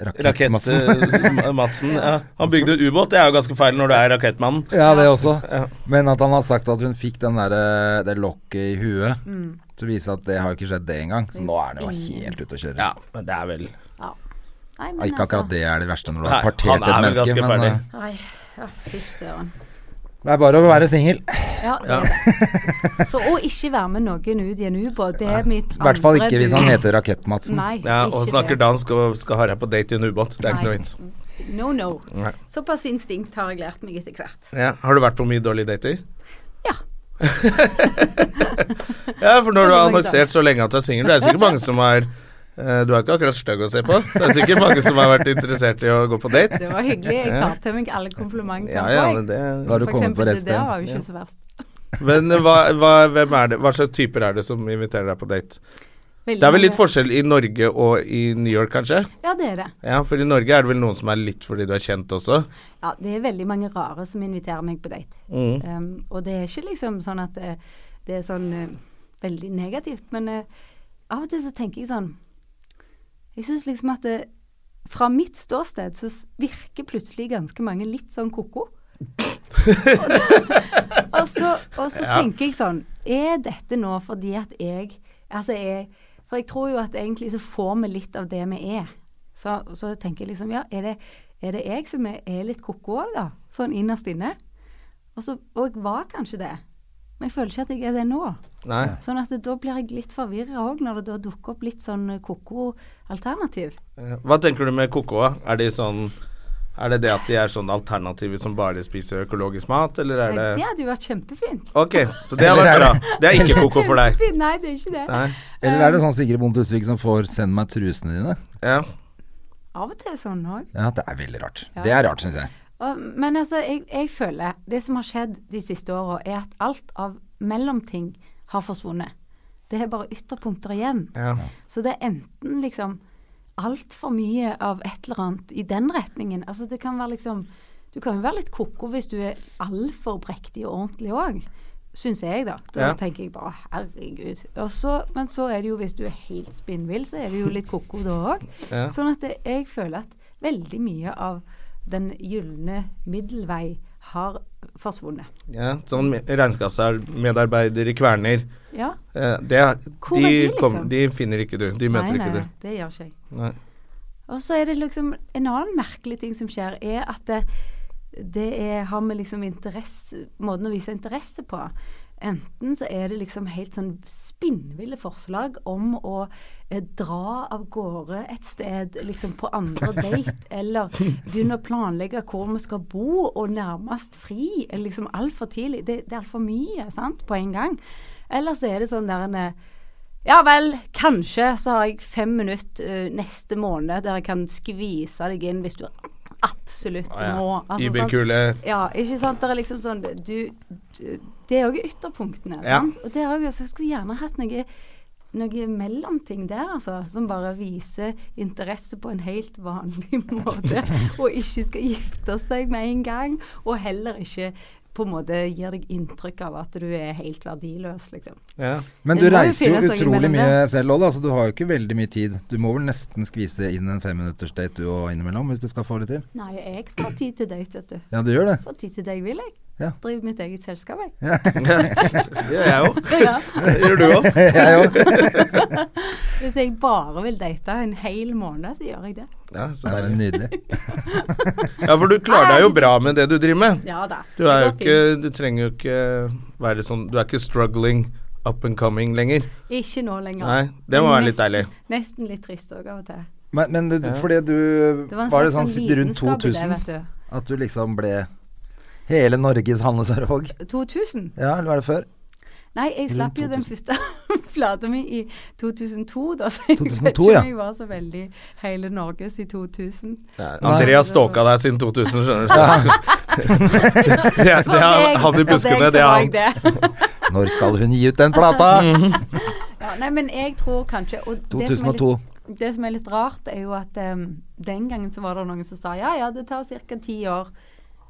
Rakett Rakettmassen. eh, Madsen. Ja. Han bygde en ubåt. Det er jo ganske feil når du er rakettmannen. Ja, det også. Men at han har sagt at hun fikk den der, eh, det lokket i huet, til å vise at det har jo ikke skjedd det engang. Så nå er han jo helt ute å kjøre. Ja, men det er vel Ja. Nei, Ja, men ikke akkurat altså. det er det verste når du Nei, har partert han et er vel menneske, ganske men ferdig. eh, Nei, Ja, Fy søren. Det er bare å være singel. Ja, det er det. Så å ikke være med noen ut i en ubåt, det er mitt I hvert fall ikke hvis han bud. heter Rakett-Madsen. Nei, Ja, ikke og snakker det. dansk og skal ha deg på date i en ubåt. Det er ikke noe Nei. vits. No, no. Nei. Såpass instinkt har jeg lært meg etter hvert. Ja. Har du vært på mye dårlige dater? Ja. ja, for når du har Veldig mange annonsert så lenge at du er singel, det er sikkert mange som har eh, Du er ikke akkurat stygg å se på, så det er sikkert mange som har vært interessert i å gå på date. Det var hyggelig. Jeg Ja. tar til meg alle komplimenter. Ja, ja, jeg. men Da det har du For kommet på eksempel, rett det der var sted. jo ikke så verst. Men hva, hva, hvem er det, hva slags typer er det som inviterer deg på date? Det er vel litt forskjell i Norge og i New York, kanskje? Ja, det er det. Ja, for i Norge er det vel noen som er litt fordi du er kjent også. Ja, det er veldig mange rare som inviterer meg på date. Mm. Um, og det er ikke liksom sånn at det, det er sånn eh, veldig negativt, men eh, av og til så tenker jeg sånn Jeg syns liksom at det, fra mitt ståsted så s- virker plutselig ganske mange litt sånn ko-ko. og, så, og så Ja. tenker jeg sånn Er dette nå fordi at jeg Altså jeg For jeg tror jo at egentlig så får vi litt av det vi er. Så, så tenker jeg liksom Ja, er det, er det jeg som er, er litt ko-ko òg, da? Sånn innerst inne. Og, så, og jeg var kanskje det, men jeg føler ikke at jeg er det nå. Nei. Sånn at det, da blir jeg litt forvirra òg, når det da dukker opp litt sånn eh, ko-ko alternativ. Hva tenker du med koko? da? Er de sånn Er det det at de er sånn alternative som bare spiser økologisk mat, eller er Det, det hadde jo vært kjempefint. Ok, så det har vært bra. Det er ikke koko for deg. Kjempefint. Nei, det er ikke det. Nei. Eller er det sånn Sigrid Bonde Tusvik som får 'send meg trusene dine'? Ja. Av og til sånn òg. Ja, det er veldig rart. Det er rart, syns jeg. Og- Men altså, jeg, jeg føler det som har skjedd de siste åra, er at alt av mellomting har forsvunnet. Det er bare ytterpunkter igjen. ja. Så det er enten liksom altfor mye av et eller annet i den retningen. Altså det kan være liksom Du kan jo være litt koko hvis du er altfor prektig og ordentlig òg. Syns jeg, da. Da Ja. tenker jeg bare herregud. Og så, men så er det jo hvis du er helt spinnvill, så er det jo litt koko da òg. Ja. Sånn at det, jeg føler at veldig mye av den gylne middelvei har forsvunnet. ja. Sånn me- regnskapsmedarbeider i Kverner. Ja. Eh, Det, Hvor er de, de, liksom? kom, de finner ikke du. De møter nei, ikke nei, du. det gjør ikke jeg. Nei. Og så er det liksom En annen merkelig ting som skjer, er at det, det er, har med liksom interesse, måten å vise interesse på. Enten så er det liksom helt sånn spinnville forslag om å eh, dra av gårde et sted liksom på andre date, eller begynne å planlegge hvor vi skal bo, og nærmest fri. eller liksom Altfor tidlig. Det, det er altfor mye sant, på en gang. Eller så er det sånn der en eh, ja vel, kanskje så har jeg fem minutter eh, neste måned der jeg kan skvise deg inn hvis du absolutt Ah, ja. må. altså, Iberkule. Sånn, ja, ikke sant. Det er liksom sånn du, du, Det er òg ytterpunktene. Ja. Sant? Og det er også, så jeg skulle gjerne hatt noe noe mellomting der, altså. Som bare viser interesse på en helt vanlig måte. Og ikke skal gifte seg med en gang. Og heller ikke på en måte gir deg inntrykk av at du er helt verdiløs, liksom. Ja. Men Det du må jo reiser jo finnes noe utrolig imellom mye selv òg, da, så du har jo ikke veldig mye tid. Du må vel nesten skvise inn en femminuttersdate du òg innimellom, hvis du skal få det til. Nei, jeg får tid til date, vet du. Ja, du gjør det. Får tid til deg, vil jeg. Ja. Driver mitt eget selskap, jeg. Det gjør jeg òg. Ja. Det gjør du òg. Jeg òg. Hvis jeg bare vil date en hel måned, så gjør jeg det. Ja, så Det er deilig. nydelig. ja, for du klarer Ah. deg jo bra med det du driver med. Ja da. Du er jo ikke Du trenger jo ikke være sånn Du er ikke struggling up and coming lenger. Ikke nå lenger. Nei, det må Men være litt nesten- deilig. Nesten litt trist òg, av og til. Men, men du, fordi du Var, det en slags sånn sånn rundt lidenskap i det, 2000? vet At du liksom ble hele Norges Hanne Sarvåg? du. 2000? Ja, eller var det før? Nei, jeg slapp jo den første flata mi i 2002, da, så jeg 2002, vet ikke ja. om jeg var så veldig hele Norges i 2000. Andrea stalka deg siden 2000, skjønner du. Så. det, det, For meg- er han i for meg buskene, så det er var han. jeg det. Når skal hun gi ut den plata? Ja, nei, men jeg tror kanskje og det som er 2002. Litt, det som er litt rart, er jo at em, den gangen så var det noen som sa ja, ja, det tar ca. ti år.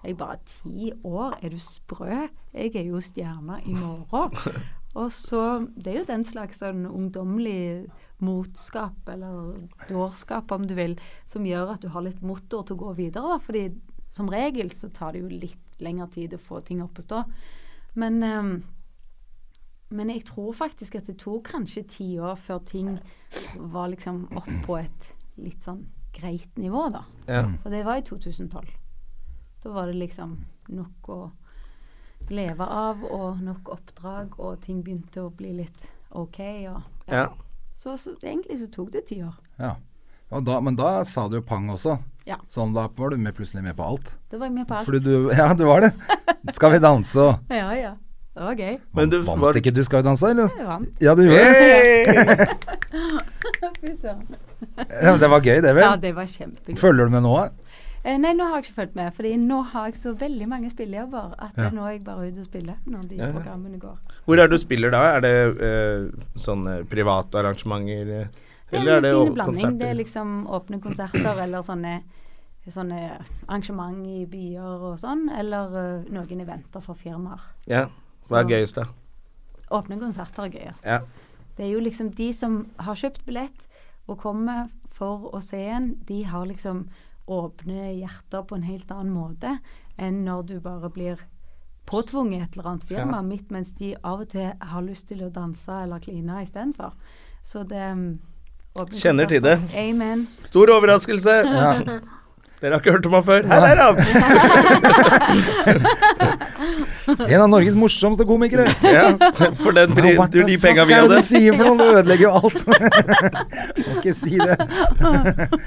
Jeg bare Ti år? Er du sprø? Jeg er jo stjerne i morgen. Og så Det er jo den slags sånn ungdommelig motskap, eller dårskap om du vil, som gjør at du har litt motor til å gå videre. Da. Fordi som regel så tar det jo litt lengre tid å få ting opp å stå. Men ehm, em, men jeg tror faktisk at det tok kanskje ti år før ting var liksom opp på et litt sånn greit nivå, da. Ja. Og det var i 2012. Da var det liksom nok å leve av og nok oppdrag, og ting begynte å bli litt OK. Og, Ja. Så, så egentlig så tok det ti år. Ja. Og da, men da sa du jo pang også. Ja. Sånn, da var du med, plutselig med på alt. Da var jeg med på alt. Fordi du Ja, du var det. Skal vi danse og Ja, ja. Det var gøy. Men du Vant var- ikke du Skal vi danse, eller? Jeg vant. Ja, du gjorde det. Hey! Fy søren. Ja, det var gøy, det Ja, vel? det var kjempegøy. Følger du med nå? Eh, nei, nå har jeg ikke fulgt med, Fordi nå har jeg så veldig mange spillejobber at eh, nå er jeg bare ute og spiller når de programmene går. Hvor er det du spiller da? Er det eh, sånne private arrangementer? eh, Det er en fin o- blanding. Det er liksom åpne konserter eller sånne, sånne arrangement i byer og sånn, eller eh, noen eventer for firmaer. Ja. Hva Så- er gøyest, da? Åpne konserter er altså. gøyest. Ja. Det er jo liksom de som har kjøpt billett og kommer for å se en, de har liksom åpne hjerter på en helt annen måte enn når du bare blir påtvunget et eller annet firma midt mens de av og til har lyst til å danse eller kline istedenfor. Så det mm, åpne Kjenner til det. konserter. Amen. Stor overraskelse! Dere har ikke hørt om han før? Her er han! En av Norges morsomste komikere. Ja, for den, pri- What du, the de fuck penga vi er det hadde. du sier for noe? Du ødelegger jo alt. Må ikke si det.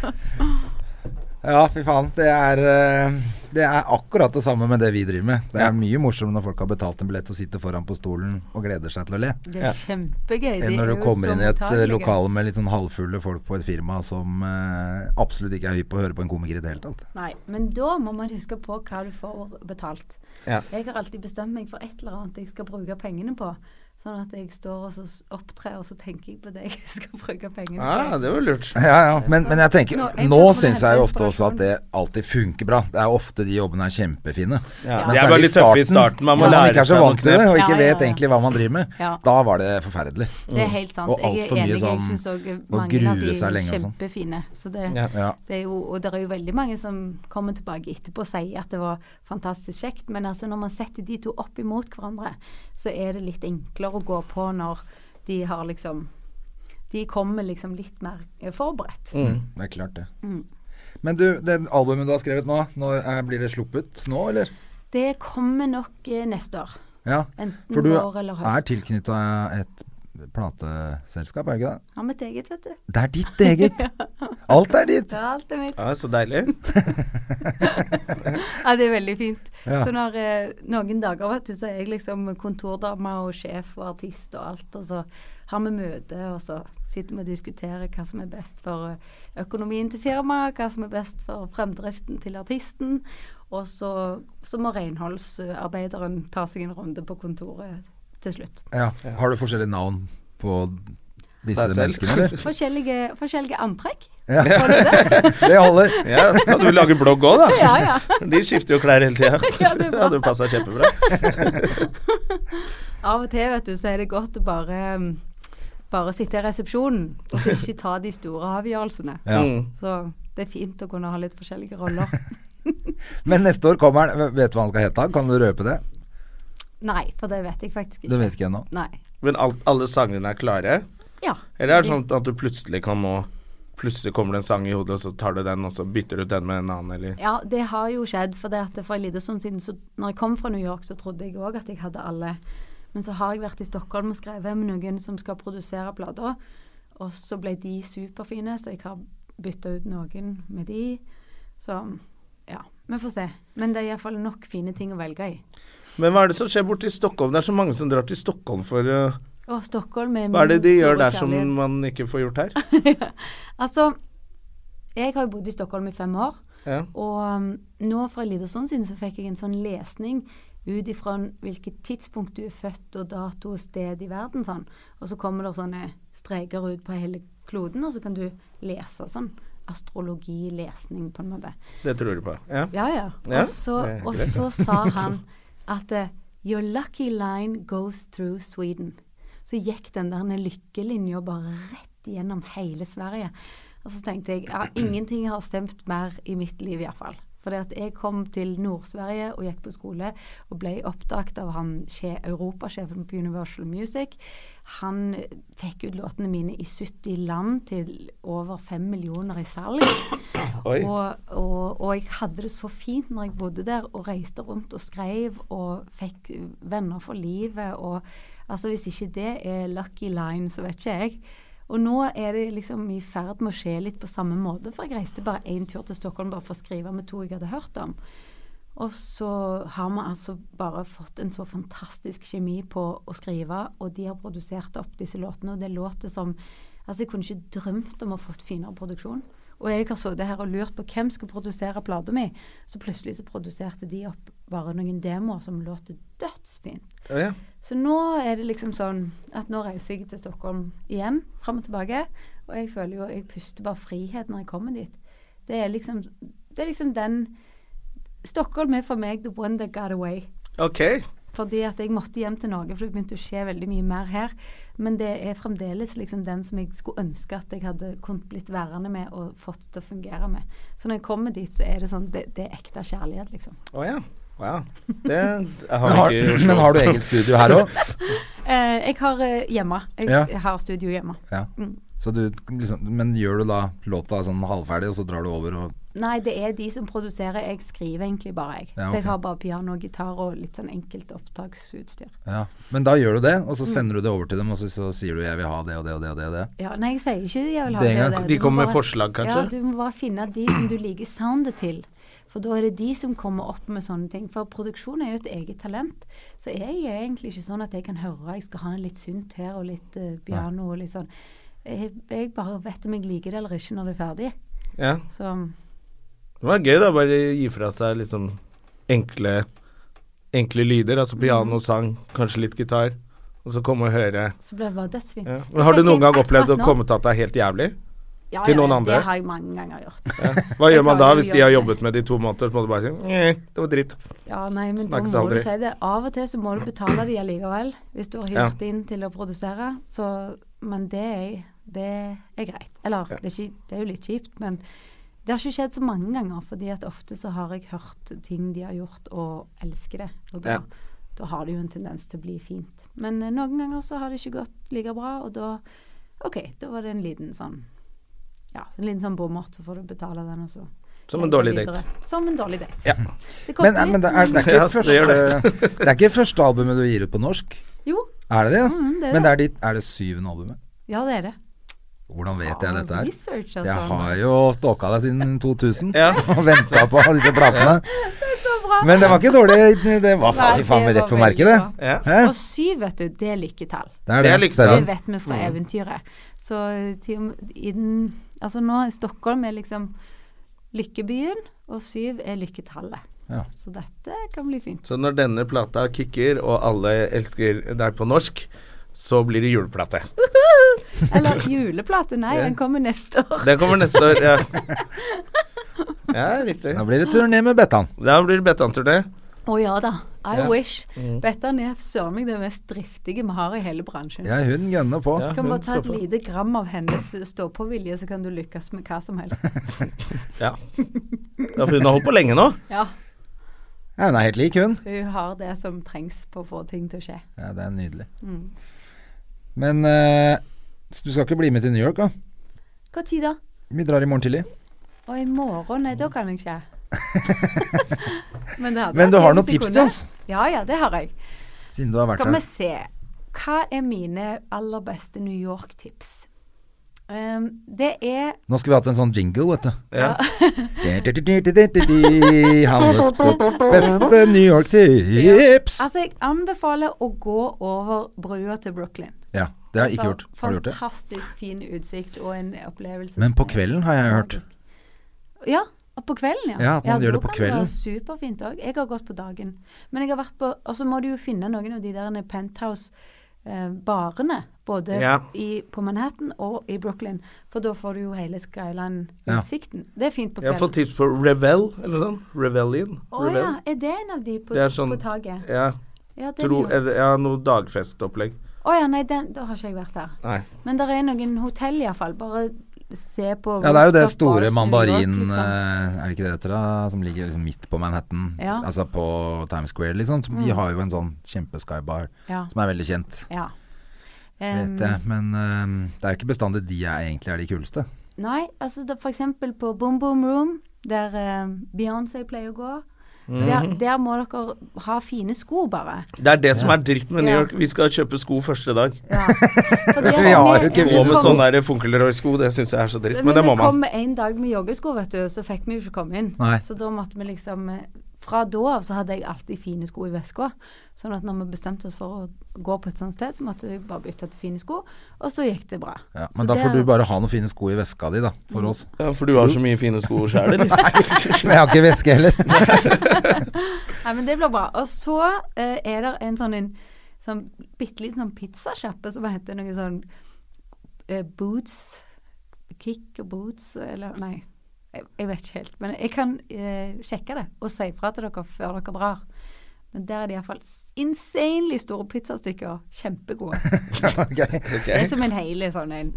Ja, fy faen. Det er, eh, det er akkurat det samme med det vi driver med. Det er mye morsommere når folk har betalt en billett og sitter foran på stolen og gleder seg til å le. Det er kjempegøy. enn De når du er jo kommer så inn i et eh, mottagelige. lokale med litt sånn halvfulle folk på et firma som eh, absolutt ikke er hypp på å høre på en komiker i det hele tatt. Nei, men da må man huske på hva du får betalt. Ja. Jeg har alltid bestemt meg for et eller annet jeg skal bruke pengene på. Sånn at jeg står og så s- opptrer, og så tenker jeg på det jeg skal bruke pengene Ah, på. det var lurt. Ja, ja, men, men jeg tenker Nå- jeg Nå prøver å syns hente jeg jo ofte også inspirasjon. at det alltid funker bra. Det er ofte de jobbene er kjempefine. Ja. Men De er særlig bare litt tøffe i starten. Man må når lære ikke er seg så noen vant til knep. det, og ikke Ja, ja, ja. vet egentlig hva man driver med. Ja. Da var det forferdelig. Det er helt sant. Mm. Og Jeg alt er for mye enig. sånn- Jeg syns òg å mange av grue de seg er lenge og sånn. kjempefine. Så det, Ja. Ja. det er jo, og det er jo veldig mange som kommer tilbake etterpå og sier at det var fantastisk kjekt, men altså når man setter de to opp imot hverandre, så er det litt enklere å gå på når de har liksom De kommer liksom litt mer eh, forberedt. Mm. Det er klart, det. Mm. Men du, det albumet du har skrevet nå, når, eh, blir det sluppet nå, eller? Det kommer nok eh, neste år. Ja. Enten For du vår eller er høst. tilknytta et plateselskap, er det ikke det? Har mitt eget, vet du. Det er ditt eget! Alt er ditt! Det er alt er mitt. Ja, så deilig. Ja, det er veldig fint. Ja. Så når eh, noen dager, vet du, så er jeg liksom kontordame og sjef og artist og alt, og så har vi møte, og så sitter vi og diskuterer hva som er best for eh, økonomien til firmaet, hva som er best for fremdriften til artisten, og så, så må renholdsarbeideren ta seg en runde på kontoret til slutt. Ja. Har du forskjellige navn på disse Deg selv. menneskene, eller? Forskjellige, forskjellige antrekk. Ja. det holder. Ja, kan du lage blogg òg, da? Ja, ja. De skifter jo klær hele tida. Ja, det er bra. hadde jo passa kjempebra. Av og til vet du, så er det godt å bare, um, bare sitte i resepsjonen og så ikke ta de store avgjørelsene. Ja. Mm. Så det er fint å kunne ha litt forskjellige roller. Men neste år kommer han. Vet du hva han skal hete? Kan du røpe det? Nei, for det vet jeg faktisk ikke. Du vet ikke ennå. Nei. Men alt, alle sangene er klare? Ja. Eller er det sånn at du plutselig kan nå Plutselig kommer det en sang i hodet, og så tar du den, og så bytter du ut den med en annen, eller Ja, det har jo skjedd. For det at for en liten stund siden, så når jeg kom fra New York, så trodde jeg òg at jeg hadde alle. Men så har jeg vært i Stockholm og skrevet med noen som skal produsere plater. Og så ble de superfine, så jeg har bytta ut noen med de. Så ja, vi får se. Men det er iallfall nok fine ting å velge i. Men hva er det som skjer borte i Stockholm? Det er så mange som drar til Stockholm for eh, Og Stockholm er Hva er Mm, det min de store gjør der som kjærlighet. man ikke får gjort her? Altså, jeg har jo bodd i Stockholm i fem år. Ja. Og um, nå for en liten stund siden så fikk jeg en sånn lesning ut ifra n- hvilket tidspunkt du er født og dato og sted i verden sånn. Og så kommer det sånne streker ut på hele kloden, og så kan du lese sånn. Astrologilesning, på en måte. Det tror du på. Ja. Ja, ja. Ja, Og så, det er og greit. så sa han at eh, Your lucky line goes through Sweden. Så gikk den der lykkelinja bare rett gjennom hele Sverige. Og så tenkte jeg ja, ingenting har stemt mer i mitt liv iallfall. Fordi at jeg kom til Nord-Sverige og gikk på skole og ble oppdaget av han sje- europasjefen på Universal Music. Han fikk ut låtene mine i 70 land til over 5 millioner i salg. Oi. Og, og, og jeg hadde det så fint når jeg bodde der og reiste rundt og skrev og fikk venner for livet. Og altså, hvis ikke det er lucky line, så vet ikke jeg. Og nå er det liksom i ferd med å skje litt på samme måte, for jeg reiste bare én tur til Stockholm bare for å skrive med to jeg hadde hørt om. Og så har vi altså bare fått en så fantastisk kjemi på å skrive, og de har produsert opp disse låtene, og det låter som Altså, jeg kunne ikke drømt om å ha fått finere produksjon. Og jeg har sittet her og lurt på hvem skulle produsere plata mi. Så plutselig så produserte de opp bare noen demoer som låter dødsfint. Ja, ja. Så nå er det liksom sånn at nå reiser jeg til Stockholm igjen, fram og tilbake. Og jeg føler jo jeg puster bare frihet når jeg kommer dit. Det er liksom, det er liksom den Stockholm er for meg the one that got away. Ok. Fordi at jeg måtte hjem til Norge, for det begynte å skje veldig mye mer her. Men det er fremdeles liksom den som jeg skulle ønske at jeg hadde kunnet blitt værende med og fått til å fungere med. Så når jeg kommer dit, så er det sånn Det, det er ekte kjærlighet, liksom. Å ja. Wow. Det har Men har, vi ikke i Oslo. men har du eget studio her òg? Eh, jeg har eh, hjemme. Jeg, Ja. jeg har studio hjemme. Ja. Så du liksom, men gjør du da låta sånn halvferdig, og så drar du over og Nei, det er de som produserer. Jeg skriver egentlig bare, jeg. Ja, Så ok. jeg har bare piano og gitar og litt sånn enkelt opptaksutstyr. ja. Men da gjør du det, Mm. og så sender du det over til dem, og så, så sier du 'jeg vil ha det og det og det'. og det, og det. Ja, nei, jeg sier ikke jeg vil ha Det det. er og engang- det. de Du må kommer med bare- forslag, kanskje? Ja, du må bare finne de som du liker soundet til. For da er det de som kommer opp med sånne ting. For produksjon er jo et eget talent. Så jeg er egentlig ikke sånn at jeg kan høre jeg skal ha en litt synt her og litt eh, piano og litt sånn. Jeg, jeg bare vet om jeg liker det eller ikke når det er ferdig. Ja. Så Det var gøy, da. Bare gi fra seg liksom enkle, enkle lyder. Altså piano, sang, kanskje litt gitar. Og så komme og høre. Så ble det bare dødsfint. Ja. Men har du Jeg noen tenker gang opplevd å akkurat nå- komme til at det er helt jævlig? Ja, til ja, noen ja, andre? Det har jeg mange ganger gjort. Hva Jeg gjør man da klarer å hvis de har gjøre jobbet med det i to måneder, så må du bare si «Nye, det var dritt. Ja, nei, men da Snakkes må aldri. du si det. Av og til så må du betale de allikevel, hvis du har Ja. hyrt inn til å produsere. Så, men det er, det er greit. Eller, det, er ikke, det er jo litt kjipt, men det har ikke skjedd så mange ganger. fordi at ofte så har jeg hørt ting de har gjort, og elsker det. Og da, Ja. da har det jo en tendens til å bli fint. Men eh, noen ganger så har det ikke gått like bra, og da OK, da var det en liten sånn ja, så en liten sånn bommert, så får du betale den, og så Som en dårlig videre. date. Som en dårlig date. Ja. Det Men, eh, koster litt, men det, er, det, er ikke Ja, det første, gjør det. er ikke første albumet du gir ut på norsk. Jo, Er det det? ja? Mm, det er men det er, ditt, er det syvende albumet? ja det er det. Hvordan vet jeg dette her? Research, altså. Jeg har jo stalka deg siden 2000 Ja. og venta på disse platene. Men det var ikke dårlig. Det var Nei, faen faen meg det rett var på merket, det. veldig Ja. Hæ? Og syv, vet du, det er lykketall. Det er Det det. er lykke ser til. du. Det vet vi fra eventyret. Så til, og med- i den, altså nå, Stockholm er liksom lykkebyen, og syv er lykketallet. Ja. Så dette kan bli fint. Så når denne plata kicker, og alle elsker deg på norsk, så blir det juleplate. Eller juleplate, nei, den kommer neste år. Det kommer neste år. Ja, ja riktig. Da blir det turné med Bettan. Da blir det Bettan-turné. Å ja da, I wish. Bettan er søren meg det mest driftige vi har i hele bransjen. Ja, hun gønner på. Ja, Du kan hun bare ta står et på. lite gram av hennes stå-på-vilje, så kan du lykkes med hva som helst. Ja. ja, for hun har holdt på lenge nå. Ja, Ja, hun er helt lik, hun. hun har det som trengs på å få ting til å skje. Ja, det er nydelig. Mm. Men eh, du skal ikke bli med til New York, da? Hva tid da? Vi drar i morgen tidlig. Og i morgen, nei, da kan jeg ikke. Men, det hadde Men vært du har gøy noen hvis jeg tips til kunne. oss? Ja, ja, det har jeg. Siden du har vært Skal vi her. se. Hva er mine aller beste New York-tips? Ehm, det er Nå skulle vi hatt en sånn jingle, vet du. Ja. Hannes på beste New York-tips. Altså, jeg anbefaler å gå over brua til Brooklyn. Ja, det har jeg ikke For gjort. Har du gjort det? Fantastisk fin utsikt og en opplevelse. Men som på er kvelden har jeg hørt. magisk. Ja, og på kvelden, ja. Ja, at man gjør da det på kan kvelden. være superfint òg. Jeg har gått på dagen. Men jeg har vært på Og så må du jo finne noen av de der penthouse-barene. Både Ja. i, på Manhattan og i Brooklyn. For da får du jo Ja. hele Skyline-utsikten. Det er fint på Jeg har fått kvelden. tips på Revel, eller noe sånt. Revellion. Å ja, er det en av de på, Det er sånn på taket? Ja, Ja, det er tro, jo- ja noe dagfestopplegg. Å ja, nei, den, da har ikke jeg vært der. Nei. Men det er noen hotell iallfall. Bare se på Ja, det er jo det rooftop bars store i New mandarin... York, liksom. eh, Er det ikke det det heter, da? Som ligger liksom midt på Manhattan. Ja. Mm. Altså på Times Square, liksom. De har jo en sånn kjempeskybar Ja. som er veldig kjent, ja. Em, vet jeg. Men eh, det er jo ikke bestandig de er egentlig er de kuleste. Nei, altså da, for eksempel på Boom Boom Room, der eh, Beyoncé pleier å gå. Mm. der, der må dere ha fine sko, bare. Det er det som er dritten med New Ja. York. Vi skal kjøpe sko første dag. For der- vi har jo vi- ikke vi Gå med kom- sånne der funkelrøy-sko, det syns jeg er så dritt. Men det må Vi kom man. en dag med joggesko, vet du, så fikk vi jo ikke komme inn. Nei. Så da måtte vi liksom eh, Fra da av så hadde jeg alltid fine sko i veska. Sånn at når vi bestemte oss for å gå på et sånt sted, så måtte vi bare bytte til fine sko, og så gikk det bra. Ja, Så men da det- Mm. får du bare ha noen fine sko i veska di, da. For oss. Ja, for du har så mye fine sko sjæl, Men eller? jeg har ikke veske heller. Nei, men det blir bra. Og så eh, er det en sånn en sånn bitte liten sånn pizzasjappe som heter noe sånn eh, Boots Kick og Boots eller Nei, jeg, jeg vet ikke helt. Men jeg kan eh, sjekke det og si fra til dere før dere drar. Men der er det iallfall insanely store pizzastykker. Kjempegode. Det er som en hel sånn en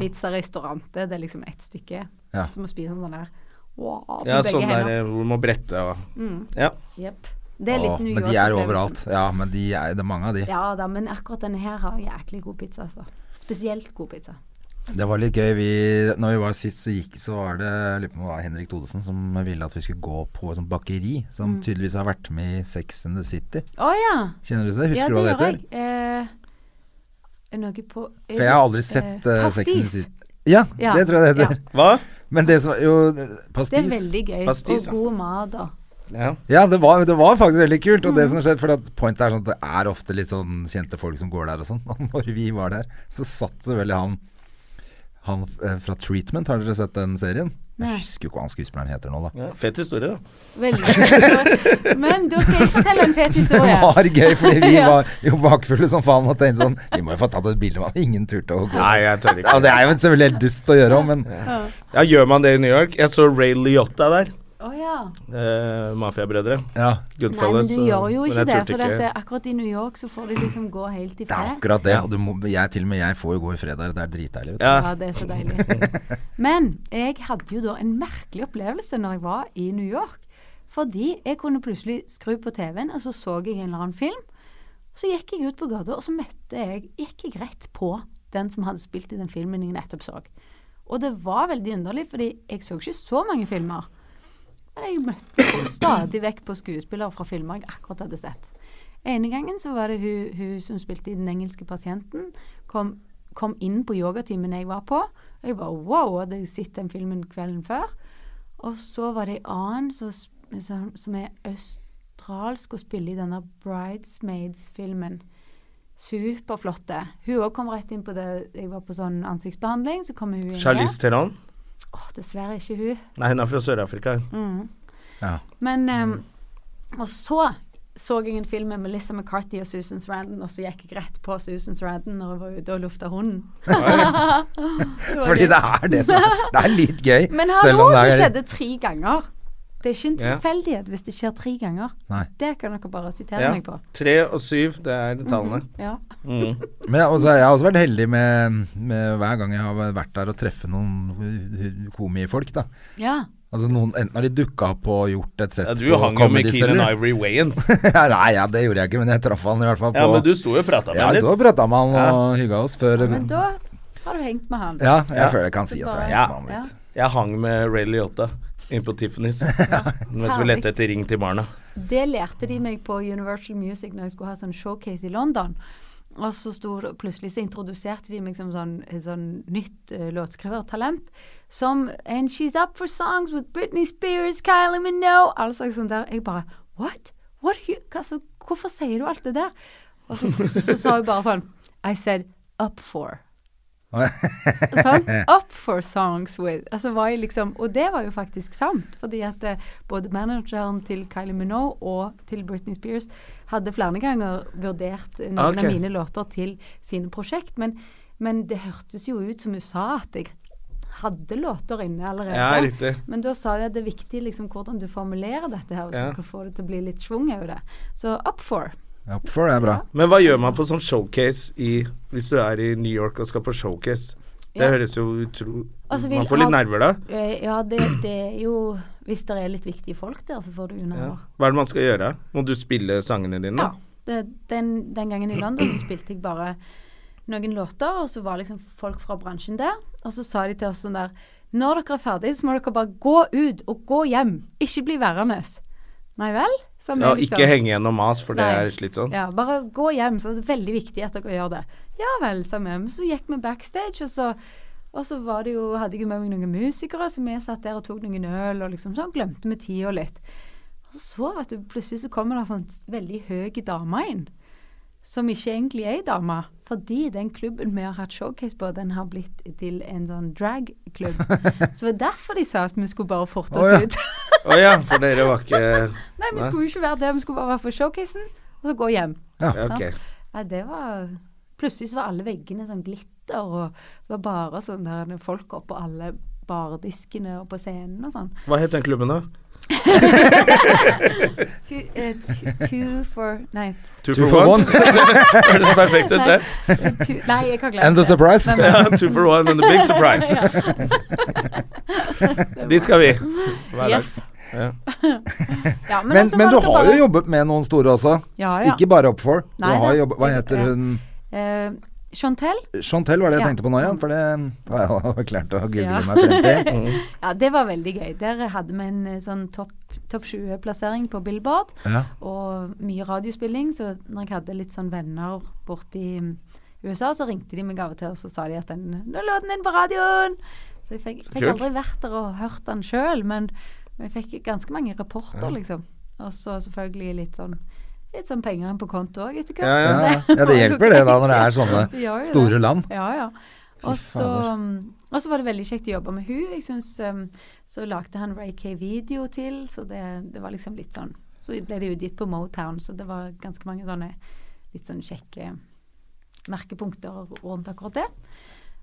pizzarestaurant. Det er liksom ett stykke. Ja. Så må spise en sånn der wow, med Ja, begge Mm. sånn der hender. eh, hvor du må brette og Ja. Jepp. Det er litt Åh, New men de York-opplevelsen. er overalt. Ja, men de er, det er mange av de. Ja da, men akkurat denne her har jæklig god pizza, altså. Spesielt god pizza. Det var litt gøy. Vi, når vi var sist, så, gikk, så var det jeg lurer på om det var Henrik Thodesen som ville at vi skulle gå på et sånt bakeri, som Mm. tydeligvis har vært med i Sex and the City. Å ja! Kjenner du det? ja, Husker du det hva det gjør heter? jeg. Eh, er noe på For jeg har aldri sett eh, Sex and the City. Ja, Ja, det tror jeg det heter. Hva? Men det som Jo, pastis. Det er veldig gøy. Pastis, ja. og god mat og Ja. Ja, det var, det var faktisk veldig kult. Og det Mm. som skjedde, for at pointet er sånn at det er ofte litt sånn kjente folk som går der og sånn. Og når vi var der, så satt selvfølgelig han han eh, fra Treatment, har dere sett den serien? Nei. Jeg husker jo ikke hva han skuespilleren heter nå, da. ja. Fet historie, da. Veldig Men da skal jeg fortelle en fet Det historie. var gøy, fordi vi Ja. var jo bakfulle som faen og tenkte sånn Vi må jo få tatt et bilde, men ingen turte å gå. Nei, jeg tør Ja, ikke. det er jo selvfølgelig helt dust å gjøre òg, men Ja, gjør man det i New York? Jeg så Ray Liotta der. Å ja. Eh, Mafiabrødre. ja. Nei, men Goodfellas. du gjør jo men ikke jeg det. turte For ikke. at, eh, akkurat i New York så får de liksom gå helt i Det er fred. akkurat det. Og du må, jeg, til og med jeg får jo gå i fredag. Det er dritdeilig. vet du. Ja. Ja, det er så deilig. Men jeg hadde jo da en merkelig opplevelse når jeg var i New York. Fordi jeg kunne plutselig skru på TV-en, og så så jeg en eller annen film. Så gikk jeg ut på gata, og så møtte jeg Gikk jeg rett på den som hadde spilt i den filmen jeg nettopp så. Og det var veldig underlig, fordi jeg så ikke så mange filmer. Men jeg møtte stadig vekk på skuespillere fra filmer jeg akkurat hadde sett. Ene gangen så var det hun, hun som spilte i Den engelske pasienten, kom, kom inn på yogatimen jeg var på. Og jeg bare wow, hadde jeg sett den filmen kvelden før? Og så var det en annen som, s- som, som er australsk og spiller i denne Bridesmaids-filmen. Superflotte. Hun òg kom rett inn på det. Jeg var på sånn ansiktsbehandling, så kom hun inn Charlize der. Theron? Åh, dessverre ikke hun. Mm. Nei, hun er fra Sør-Afrika. Ja. Men ehm, Og så så jeg en film med Melissa McCarthy og Susan Sarandon, og så gikk jeg rett på Susan Sarandon når jeg var ute og lufta hunden. Det var Fordi gøy. det er det som er Det er litt gøy. Men hallo, det, er- skjedde tre ganger. Det er ikke en Ja. tilfeldighet hvis det skjer tre ganger. Nei. Det kan dere bare sitere Ja. meg på. Tre og syv, det er Mm. tallene. Ja. Mm. Men jeg, har også, jeg har også vært heldig med, med hver gang jeg har vært der og treffe noen hu- hu- komifolk, da. ja. Altså noen, enten har de dukka opp og gjort et sett Ja, du hang jo med Keenan Ivory Wayans. ja, nei, ja, det gjorde jeg ikke, men jeg traff han i hvert fall på Ja, men du sto jo og prata med Ja, vi ham litt. sto og prata med han og hygga oss før Ja, Men da har du hengt med han. jeg Ja. føler jeg kan si at jeg Ja. er med han litt. Jeg hang med Ray Liotta inne på Tiffany's mens vi Herlig. lette etter ring til barna. Det lærte de meg på Universal Music når jeg skulle ha sånn showcase i London. Og så sto det, plutselig så introduserte de meg som sånn, sånn nytt eh, låtskrivertalent. Som And she's up for songs with Britney Spears, Kylie Minogue All slags sånn der. Jeg bare What? What are you hva, så, Hvorfor sier du alt det der? Og så, så, så sa hun bare sånn I said up for. Sånn, up for songs with. Altså var jeg liksom, og det var jo faktisk sant, fordi at eh, både manageren til Kylie Minogue og til Britney Spears hadde flere ganger vurdert eh, noen Ok. av mine låter til sine prosjekt, men, men det hørtes jo ut som hun sa at jeg hadde låter inne allerede. Ja, riktig. Men da sa jeg at det er viktig liksom hvordan du formulerer dette her, hvis Ja. du skal få det til å bli litt schwung over det. Så up for. Ja, for det er bra. Men hva gjør man på sånn showcase i Hvis du er i New York og skal på showcase? Det Ja. høres jo utro... Altså, vil Man får litt ha- nerver da. Eh, Ja, det, det er jo Hvis det er litt viktige folk der, så får du jo nerver. Hva er det man skal gjøre? Må du spille sangene dine? Ja. da? Det, den, den gangen i London så spilte jeg bare noen låter, og så var liksom folk fra bransjen der. Og så sa de til oss sånn der Når dere er ferdig, så må dere bare gå ut og gå hjem. Ikke bli værende. Nei vel? Som Ja, er liksom- ikke henge gjennom mas, for det Nei. er sånn. slitsomt. Ja, bare gå hjem. Så det er veldig viktig at dere gjør det. Ja vel, sa vi. Men så gikk vi backstage, og så, og så var det jo, hadde jeg jo med meg noen musikere, så vi satt der og tok noen øl, og liksom sånn glemte vi tida litt. Og så, vet du, plutselig så kommer det en sånn veldig høy dame inn, som ikke egentlig er ei dame. Fordi den klubben vi har hatt showcase på, den har blitt til en sånn drag-klubb. Så det var derfor de sa at vi skulle bare forte oss Å, ja. ut. Å ja, for dere var ikke Nei, vi Nei. skulle jo ikke være der, vi skulle bare være på showcasen, og så gå hjem. Ja, Ok. Nei, det var Plutselig så var alle veggene sånn glitter, og det var bare sånn der folk oppå alle bardiskene og på scenen og sånn. Hva het den klubben, da? Two, eh, two, two for Nei. Two, Two for one. Høres perfekt ut, det. Nei, two, nei jeg har glemt And the surprise. Men- Ja, two for one and a big surprise. Dit skal vi. Hver dag. Yes. Ja. Ja, men, Men, altså men var du det har bare- jo jobbet med noen store også. ja, ja. Ikke bare Opfor. Du Nei, har da. jobbet, hva heter Ja. hun Eh, Chantel? Chantel var det jeg Ja. tenkte på nå igjen, for det har jeg klart å google Ja. meg frem til. Ja, det var veldig gøy. Der hadde vi en eh, sånn topp topp 20-plassering på Billboard. Ja. og mye radiospilling. Så når jeg hadde litt sånn venner borti USA, så ringte de meg av og til og så sa de at den, 'Nå lå den inn på radioen!' Så jeg fikk, fikk kult. aldri vært der og hørt den sjøl, men men jeg fikk ganske mange rapporter, liksom. Og så selvfølgelig litt sånn Litt sånn penger inn på konto òg etter hvert. Ja, Ja, ja. ja. ja, det hjelper det da når det er sånne Det gjør jo det. store land. Ja, ja. Og så, fader. um, og så var det veldig kjekt å jobbe med hun. Jeg synes, um, Så lagde han Ray K-video til, så det, det var liksom litt sånn Så ble det utgitt på Motown, så det var ganske mange sånne litt sånn kjekke merkepunkter rundt akkurat det.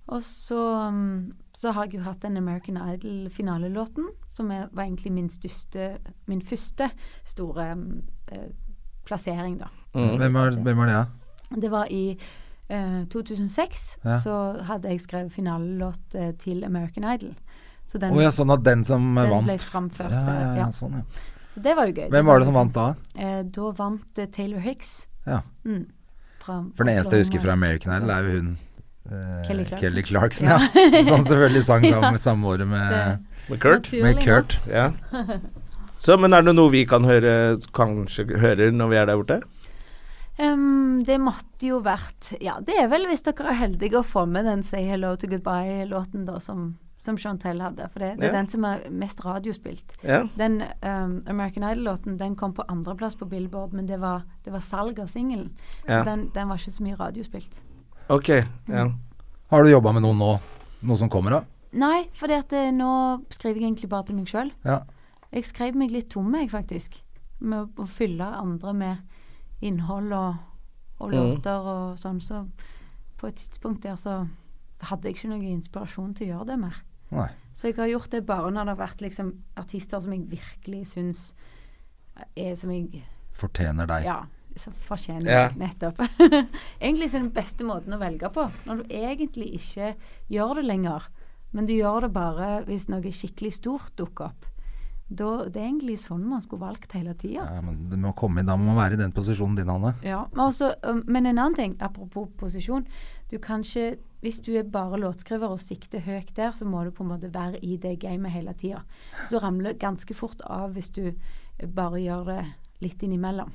Og så, um, så har jeg jo hatt den American Idol-finalelåten, som er, var egentlig min største Min første store um, eh, plassering, da. Mm. Hvem var, hvem var det, da? Det var i eh, 2006 Ja. så hadde jeg skrevet finalelåt eh, til American Idol. Så, Å den, ja, sånn at den som Den vant ble framført, ja, ja, ja, ja. sånn, ja. så det var jo gøy. Hvem var det som vant da? Eh, da vant eh, Taylor Hicks. Ja. Mm, fra, For den eneste jeg husker fra American Idol, er jo hun eh, Kelly Clarkson. Kelly Clarkson ja. som selvfølgelig sang sammen, samme året med, Det- liksom. Med Kurt. Naturlig med nok. Kurt. Ja. Så, men er det noe vi kan høre, kanskje hører når vi er der borte? Ehm, det måtte jo vært Ja, det er vel hvis dere er heldige å få med den Say Hello to Goodbye-låten da som, som Chantel hadde. For det, det er Ja. den som er mest radiospilt. Ja. Den ehm, American Idol-låten den kom på andreplass på Billboard, men det var, det var salg av singelen. Ja. Så den, den var ikke så mye radiospilt. Ok. Ja. Har du jobba med noen nå? Noe som kommer da? Nei, for nå skriver jeg egentlig bare til meg sjøl. Ja. Jeg skrev meg litt tom, jeg, faktisk. Med å- å fylle andre med innhold og, og låter og sånn. Så på et tidspunkt der så hadde jeg ikke noe inspirasjon til å gjøre det mer. Nei. Så jeg har gjort det bare når det har vært liksom artister som jeg virkelig syns er som jeg Fortjener deg. Ja, som fortjener Ja. meg, nettopp. egentlig så er den beste måten å velge på. Når du egentlig ikke gjør det lenger, men du gjør det bare hvis noe skikkelig stort dukker opp. Da, det er egentlig sånn man skulle valgt hele tida. Ja, men du må komme inn, da må man være i den posisjonen din, Hanne. Ja, men, også, um, men en annen ting, apropos posisjon. Du kan ikke, hvis du er bare låtskriver og sikter høyt der, så må du på en måte være i det gamet hele tida. Så du ramler ganske fort av hvis du eh, bare gjør det litt innimellom.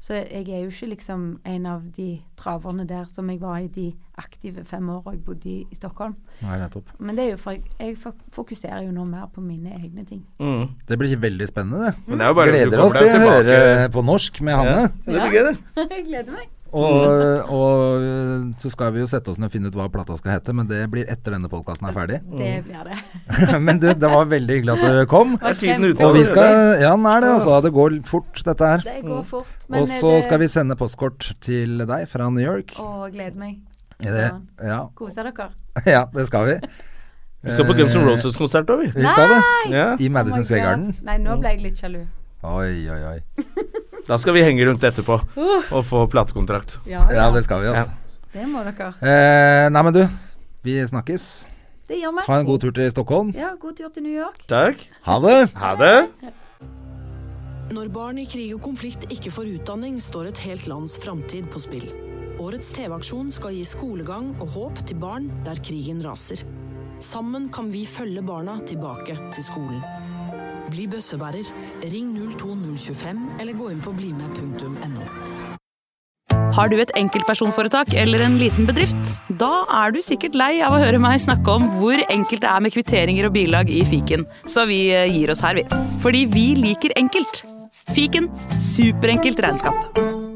Så jeg er jo ikke liksom en av de traverne der som jeg var i de aktive fem åra jeg bodde i, i Stockholm. Nei, nettopp. Men det er jo for jeg, jeg fok- fokuserer jo nå mer på mine egne ting. Mm. Det blir veldig spennende, det. Men det er jo bare du Gleder kommer oss deg til å tilbake. høre på norsk med Hanne. Ja, Mm. det blir gøy, det. jeg gleder meg. Og, og så skal vi jo sette oss ned og finne ut hva plata skal hete, men det blir etter denne podkasten er ferdig. Det blir det. men du, det var veldig hyggelig at du kom. Er tiden ute Og vi allerede? skal Ja, den er det, altså. Det går fort, dette her. Det går fort. men eh, Og så det- skal vi sende postkort til deg fra New York. Å, gleder meg. Er det, Så, ja, Koser dere. ja, det skal vi. Vi skal på Guns N' Roses-konsert òg, vi. Vi skal det. Ja. I Madison Oh my Square God. Garden. Nei, nå ble jeg litt sjalu. Oi, oi, oi. Da skal vi henge rundt etterpå Uh. og få platekontrakt. Ja, Ja, det skal vi, altså. det må dere. Eh, nei, men du. Vi snakkes. Det gjør vi. Ha en god tur til Stockholm. Ja, god tur til New York. Takk. Ha det! Ha det. Når barn i krig og konflikt ikke får utdanning, står et helt lands framtid på spill. Årets TV-aksjon skal gi skolegang og håp til barn der krigen raser. Sammen kan vi følge barna tilbake til skolen. Bli bøssebærer. Ring 02025 eller gå inn på blimed.no. Har du et enkeltpersonforetak eller en liten bedrift? Da er du sikkert lei av å høre meg snakke om hvor enkelt det er med kvitteringer og bilag i fiken, så vi eh, gir oss her, vi. Fordi vi liker enkelt. Fiken superenkelt regnskap.